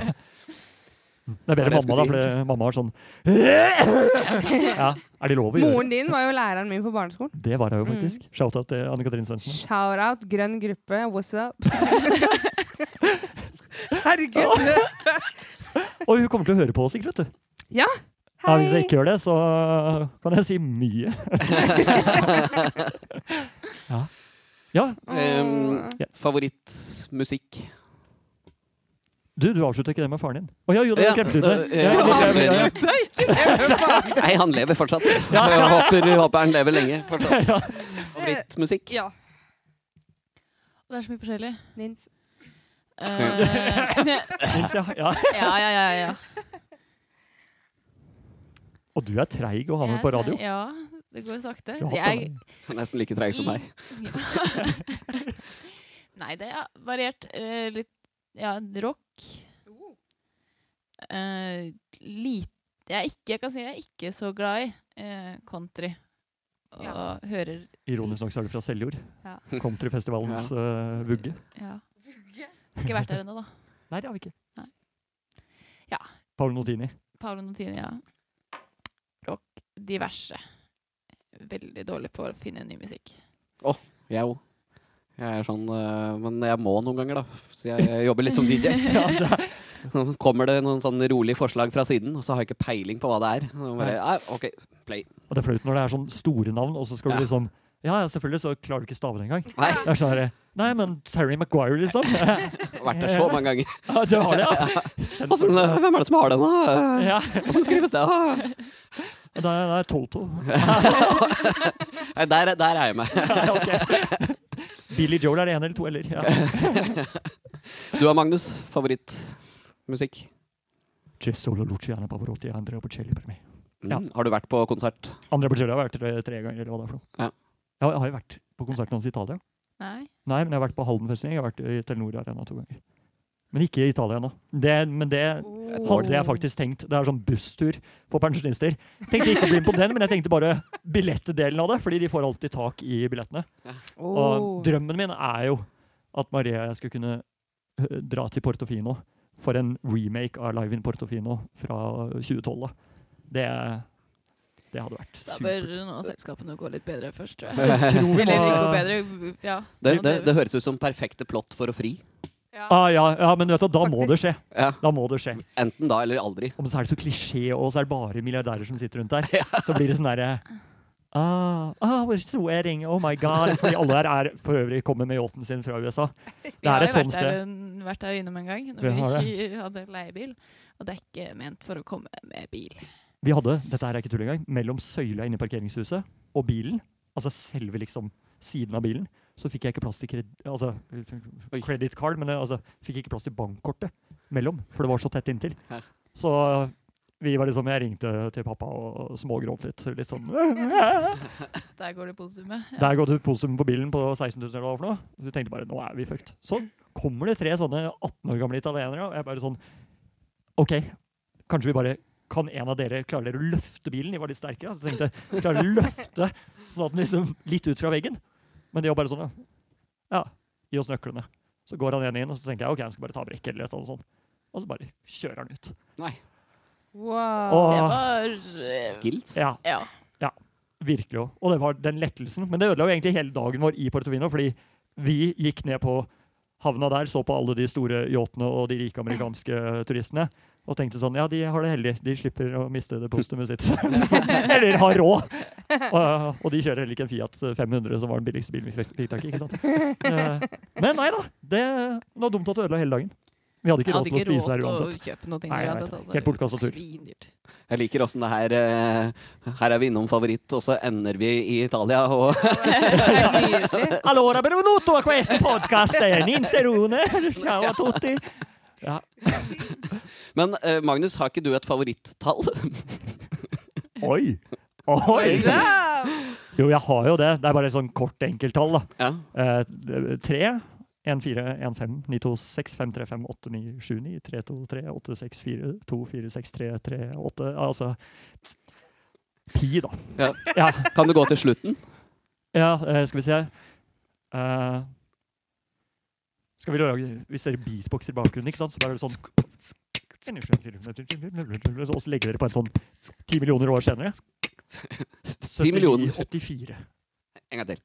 Speaker 1: Det er
Speaker 3: Det var
Speaker 1: bedre
Speaker 3: det jeg
Speaker 1: mamma, da,
Speaker 3: skulle
Speaker 1: for mamma var sånn
Speaker 4: [laughs]
Speaker 1: Ja, er det lov å gjøre?
Speaker 2: Moren din var jo læreren min på barneskolen.
Speaker 1: Det var
Speaker 4: Mm.
Speaker 1: jeg jo faktisk. Shout-out til Anne Katrin Svendsen.
Speaker 2: Shout-out grønn gruppe,
Speaker 1: [laughs]
Speaker 2: what's up? Herregud.
Speaker 1: Og hun kommer til å høre på oss, ikke sant? du? Ja, hvis jeg
Speaker 2: Hei.
Speaker 1: ikke gjør det, så kan jeg si
Speaker 4: [laughs]
Speaker 1: mye. ja. ja.
Speaker 3: Um,
Speaker 2: Åh.
Speaker 3: Favorittmusikk.
Speaker 1: Du, du avslutta ikke det med faren din. Å ja, jo, det
Speaker 3: Ja,
Speaker 1: glemte du det.
Speaker 3: det-
Speaker 1: Ja,
Speaker 3: ja, eh,
Speaker 1: det glemte
Speaker 3: det-
Speaker 4: [laughs]
Speaker 1: jeg, ja.
Speaker 3: [laughs] Nei, han lever fortsatt. Jeg håper, håper han lever lenge fortsatt.
Speaker 1: Ja.
Speaker 3: Favorittmusikk.
Speaker 2: Ja.
Speaker 4: Og det er så
Speaker 1: [laughs]
Speaker 4: mye forskjellig.
Speaker 2: Nins.
Speaker 4: Eh,
Speaker 1: Syns jeg, ja.
Speaker 4: [laughs] ja, ja, ja. ja.
Speaker 1: Og du er treig å ha med
Speaker 4: Jeg
Speaker 1: på
Speaker 4: tre-
Speaker 1: radio.
Speaker 4: Ja, det går sakte.
Speaker 1: Du har
Speaker 4: Det
Speaker 1: hatt
Speaker 4: er-
Speaker 1: den.
Speaker 3: Han er Nesten like treig som meg.
Speaker 4: Ja. [laughs] Nei, det er variert. eh, litt ja, rock. eh, lite jeg, er ikke, jeg kan si jeg er ikke så glad i eh, country. Og
Speaker 2: Ja.
Speaker 4: hører
Speaker 1: Ironisk nok så er du fra Seljord.
Speaker 4: Ja.
Speaker 1: Countryfestivalens eh, vugge.
Speaker 4: ja. Ikke vært der ennå, da.
Speaker 1: Nei, det har vi ikke.
Speaker 4: Nei. Ja.
Speaker 1: Paolo Notini.
Speaker 4: Paolo Notini, ja. Rock diverse. Veldig dårlig på å finne ny musikk.
Speaker 3: Jeg òg. Jeg er sånn eh, Men jeg må noen ganger, da. Så jeg eh, jobber litt som
Speaker 1: [laughs]
Speaker 3: DJ. Kommer det noen sånn rolig forslag fra siden, og så har jeg ikke peiling på hva det er. Og bare, ja, ok, play.
Speaker 1: Og det er flaut når det er sånn store navn, og så skal
Speaker 3: Ja.
Speaker 1: du liksom Ja, ja, selvfølgelig så klarer du ikke stave det engang.
Speaker 3: Nei,
Speaker 1: Det er sånn her, Nei, men Terry Maguire, liksom. [laughs] Ja,
Speaker 3: jeg har vært der så mange ganger.
Speaker 1: [laughs] du har det, ja.
Speaker 3: Åssen, eh, hvem er det som har den, da?
Speaker 1: ja.
Speaker 3: Åssen skrives det?
Speaker 1: [laughs]
Speaker 3: Ah.
Speaker 1: Det er, det er Toto.
Speaker 3: Nei, der, der er jeg med.
Speaker 1: Ja, ok. Billy Joel er det ene eller to eller? Ja.
Speaker 3: Du og Magnus, favorittmusikk?
Speaker 1: C'è solo Luciano Pavarotti, Andrea Bocelli per me.
Speaker 3: Mm.
Speaker 1: Ja.
Speaker 3: Har du vært på konsert?
Speaker 1: Andrea Bocelli har vært tre, tre ganger, eller hva det er for noe.
Speaker 3: Ja.
Speaker 1: Ja, jeg har jo vært på konserten hans i Italia.
Speaker 4: Nei.
Speaker 1: Nei, men jeg har vært på Haldenfestning. Jeg har vært i Telenor Arena to ganger. Men ikke i Italia ennå. Det- Men det hadde jeg faktisk tenkt. Det er sånn busstur for pensjonister. Tenkte ikke å bli med på den, men jeg tenkte bare billettdelen av det. Fordi de får alltid tak i billettene.
Speaker 2: Oh.
Speaker 1: Og drømmen min er jo at Maria og jeg skulle kunne øh, dra til Portofino for en remake av Live in Portofino fra 2012. da. Det, det hadde vært
Speaker 4: Da bør
Speaker 1: supert.
Speaker 4: nå selskapene gå litt bedre først,
Speaker 3: [laughs]
Speaker 4: tror jeg.
Speaker 1: Jeg tror vi
Speaker 4: Eller gå
Speaker 1: må-
Speaker 4: bedre, ja.
Speaker 3: Det, det, det høres ut som perfekte plott for å fri.
Speaker 2: Ja.
Speaker 1: Ah, ja, ja, men vet du, da må det skje.
Speaker 3: Ja.
Speaker 1: Da må det skje.
Speaker 3: Enten da eller aldri.
Speaker 1: Og så er det så klisjé, og så er det bare milliardærer som sitter rundt der. Så blir det sånn derre Ah, ah, it's a wedding, oh my god. Fordi alle her er for øvrig kommer med yachten sin fra USA.
Speaker 4: [laughs] Vi
Speaker 1: Det er
Speaker 4: har
Speaker 1: et
Speaker 4: jo
Speaker 1: sånt
Speaker 4: vært der,
Speaker 1: sted.
Speaker 4: en- vært der innom en gang, når
Speaker 1: Vi
Speaker 4: vi,
Speaker 1: har
Speaker 4: [laughs] hadde leiebil. Og det er ikke ment for å komme med bil.
Speaker 1: Vi hadde, dette her er ikke tull engang, mellom søyla inne i parkeringshuset og bilen, altså selve liksom siden av bilen, så fikk jeg ikke plass til kred, altså,
Speaker 3: Oi.
Speaker 1: credit card, men eh, altså, fikk ikke plass til bankkortet mellom, for det var så tett inntil.
Speaker 3: Ja.
Speaker 1: Så vi var liksom, jeg ringte til pappa og smågråt litt, litt sånn
Speaker 4: Der går det posumet.
Speaker 1: Der går det posum på bilen på 16 000 eller hva for noe. Så vi tenkte bare, nå er vi fucked. Så kommer det tre sånne 18 år gamle italienere, og jeg bare sånn, ok, kanskje vi bare, kan en av dere, klarer dere å løfte bilen? De var litt sterkere, så tenkte jeg, klarer dere å løfte, sånn at den liksom, litt ut fra veggen? Men de var bare sånn, ja, ja, gi oss nøklene. Så går han igjen inn, og så tenker jeg, ok, han skal bare ta brekket eller et eller annet sånt. Og så bare kjører han ut.
Speaker 2: Wow.
Speaker 1: Og,
Speaker 4: Det var eh,
Speaker 3: Skills?
Speaker 1: ja,
Speaker 4: Ja.
Speaker 1: Virkelig òg. Og det var den lettelsen. Men det ødela jo egentlig hele dagen vår i Portofino, fordi vi gikk ned på havna der, så på alle de store yachtene og de rike amerikanske turistene. Og tenkte sånn Ja, de har det heldig. De slipper å miste det postumet
Speaker 4: [laughs]
Speaker 1: sitt. Sånn, Eller har råd! Og, og de kjører heller ikke en Fiat 500, som var den billigste bilen vi fikk fikk tak i. ikke sant? Eh, Men nei da. Det det var dumt at det ødela hele dagen. Vi hadde
Speaker 4: Jeg
Speaker 1: ikke råd
Speaker 4: hadde
Speaker 1: til å
Speaker 4: ikke
Speaker 1: spise
Speaker 4: råd
Speaker 1: her
Speaker 4: til å
Speaker 1: uansett.
Speaker 4: kjøpe noe.
Speaker 1: Nei, jeg vet det. Helt bortkastet tur.
Speaker 4: altså. Svindyrt.
Speaker 3: Jeg liker åssen det her eh, Her er vi innom favoritt, og så ender vi i Italia og [laughs]
Speaker 2: Nydelig.
Speaker 1: Allora, benvenuto a questo
Speaker 4: [laughs]
Speaker 1: podcast! Ninserone! Ciao a tutti!
Speaker 3: Men eh, Magnus, har ikke du et favorittall? [laughs]
Speaker 1: Oi! [laughs] Oi!
Speaker 2: Damn.
Speaker 1: Jo, jeg har jo det. Det er bare et sånn kort enkelttall. da.
Speaker 3: ja.
Speaker 1: Eh, tre, en fire, en fem, ni to seks, fem tre fem, åtte ni sju ni, tre to tre, åtte seks fire, to fire seks tre tre åtte Altså pi, da.
Speaker 3: Ja.
Speaker 1: Ja,
Speaker 3: Kan du gå til slutten? [laughs]
Speaker 1: ja eh, skal vi se Eh, Skal vi lage Hvis dere beatboxer i bakgrunnen, ikke sant, så blir det sånn Og så legger dere på en sånn ti millioner år senere.
Speaker 3: 10 millioner.
Speaker 1: 84.
Speaker 3: En gang til.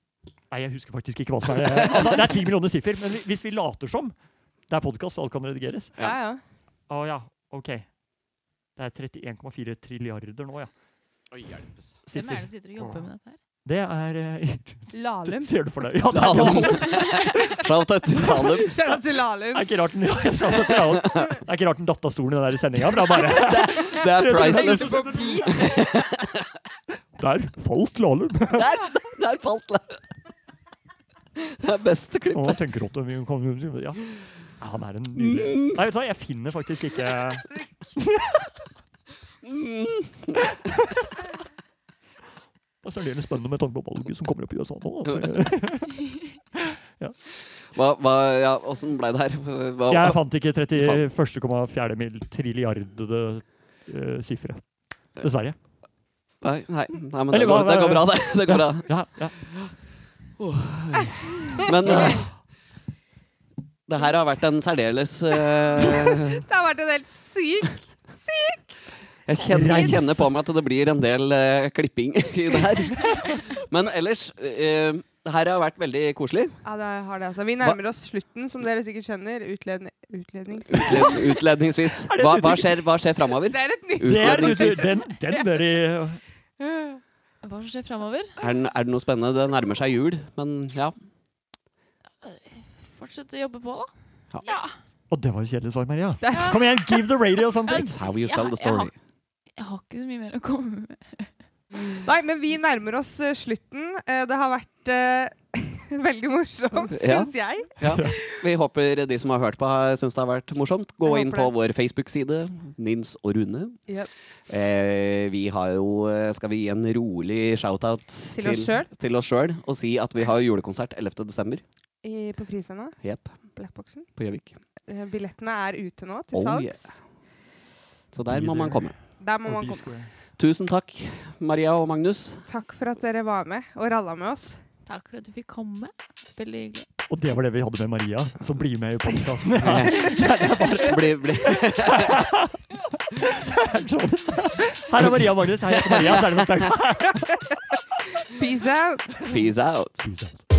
Speaker 1: Nei, jeg husker faktisk ikke hva som er [laughs] Altså, det er ti millioner siffer, men vi- hvis vi later som Det er podkast, alt kan redigeres.
Speaker 3: Ja.
Speaker 2: Ja, ja.
Speaker 1: Å ja, OK. Det er 31,4 trilliarder nå, ja.
Speaker 3: Oi, hjelpes.
Speaker 4: Hvem er
Speaker 1: Siffer.
Speaker 4: det som sitter og jobber med dette her?
Speaker 1: Det er
Speaker 4: [laughs]
Speaker 1: eh, Du
Speaker 2: Lahlum.
Speaker 1: [laughs] ser det for deg. Ja, det er [laughs]
Speaker 3: Lahlum.
Speaker 1: Lahlum.
Speaker 3: Shout-out til Halum.
Speaker 2: Kjære til Lahlum.
Speaker 1: Det er ikke rart den, [laughs] ja, jeg sa det, det er jo- det er ikke rart den datt av stolen i den der sendinga. Der
Speaker 3: Det er priceless.
Speaker 2: Hilse på Pi.
Speaker 1: falt Lahlum.
Speaker 3: Der, der falt det. Det er beste
Speaker 1: Og
Speaker 3: klippet.
Speaker 1: han tenker at vi kan ja. ja, han er en
Speaker 3: Mm.
Speaker 1: nydelig Nei, vet du hva, jeg finner faktisk ikke
Speaker 3: Mm.
Speaker 1: [laughs] Og så er det spennende med tanke på valget som kommer opp i USA nå.
Speaker 3: Mm.
Speaker 1: altså.
Speaker 3: Hva, hva, ja, åssen ble det her? Hva,
Speaker 1: Jeg fant ikke 31,4 mil trilliardede uh, sifre. Dessverre.
Speaker 3: Nei, nei, nei men det
Speaker 1: Eller
Speaker 3: går,
Speaker 1: hva-
Speaker 3: det går bra, det. det går bra.
Speaker 1: Ja, ja.
Speaker 3: Men eh, det her har vært en særdeles eh,
Speaker 2: Det har vært en helt syk
Speaker 3: jeg, kjenner, jeg kjenner på meg at det blir en del eh, klipping [laughs] i det her. Men ellers eh, Det her har vært veldig koselig.
Speaker 2: Ja, det har det, altså. Vi nærmer oss slutten, som dere sikkert skjønner. Utledning... utledning.
Speaker 3: Utled, utledningsvis. Hva, hva skjer, hva skjer framover?
Speaker 2: [laughs] Det er et nytt
Speaker 1: Det er,
Speaker 3: Utledningsvis.
Speaker 1: den, den bør i
Speaker 4: Hva som skjer framover?
Speaker 3: Er, den- er det noe spennende? Det nærmer seg jul, men ja.
Speaker 4: Fortsett å jobbe på, da.
Speaker 1: Og det var jo kjedelig svar, Maria.
Speaker 2: Det er-
Speaker 1: Kom igjen, give the radio something!
Speaker 3: It's how you
Speaker 4: Ja,
Speaker 3: sell the
Speaker 4: jeg har-
Speaker 3: story.
Speaker 4: Jeg har ikke så mye mer å komme med.
Speaker 2: Nei, men vi nærmer oss eh, slutten. Eh, det har vært eh, [laughs] veldig morsomt,
Speaker 3: Ja.
Speaker 2: syns jeg.
Speaker 3: Ja. Vi håper de som har hørt på, har- syns det har vært morsomt. Gå
Speaker 2: Jeg
Speaker 3: inn
Speaker 2: håper
Speaker 3: på vår Facebook-side, Nins og Rune.
Speaker 2: Yep.
Speaker 3: Eh, vi har jo eh, Skal vi gi en rolig shout-out
Speaker 2: Til oss selv?
Speaker 3: til oss sjøl og si at vi har julekonsert 11. desember
Speaker 2: I, på Friscena,
Speaker 3: Jep,
Speaker 2: Blackboxen.
Speaker 3: på Gjøvik.
Speaker 2: Eh, billettene er ute nå, til
Speaker 3: Oh,
Speaker 2: salgs.
Speaker 3: yeah. Så der må man komme.
Speaker 2: Der må man
Speaker 1: Be
Speaker 2: komme.
Speaker 1: square.
Speaker 3: Tusen takk, Maria og Magnus.
Speaker 2: Takk for at dere var med og ralla med oss.
Speaker 4: Takk for at du fikk komme. Veldig hyggelig.
Speaker 1: Og det var det vi hadde med Maria, som blir med i podkasten.
Speaker 3: [laughs] Bli, bli. [laughs]
Speaker 1: Her er Maria og Magnus. Her er Maria, så er det noe
Speaker 2: Peace out!
Speaker 3: Peace out.
Speaker 1: takk.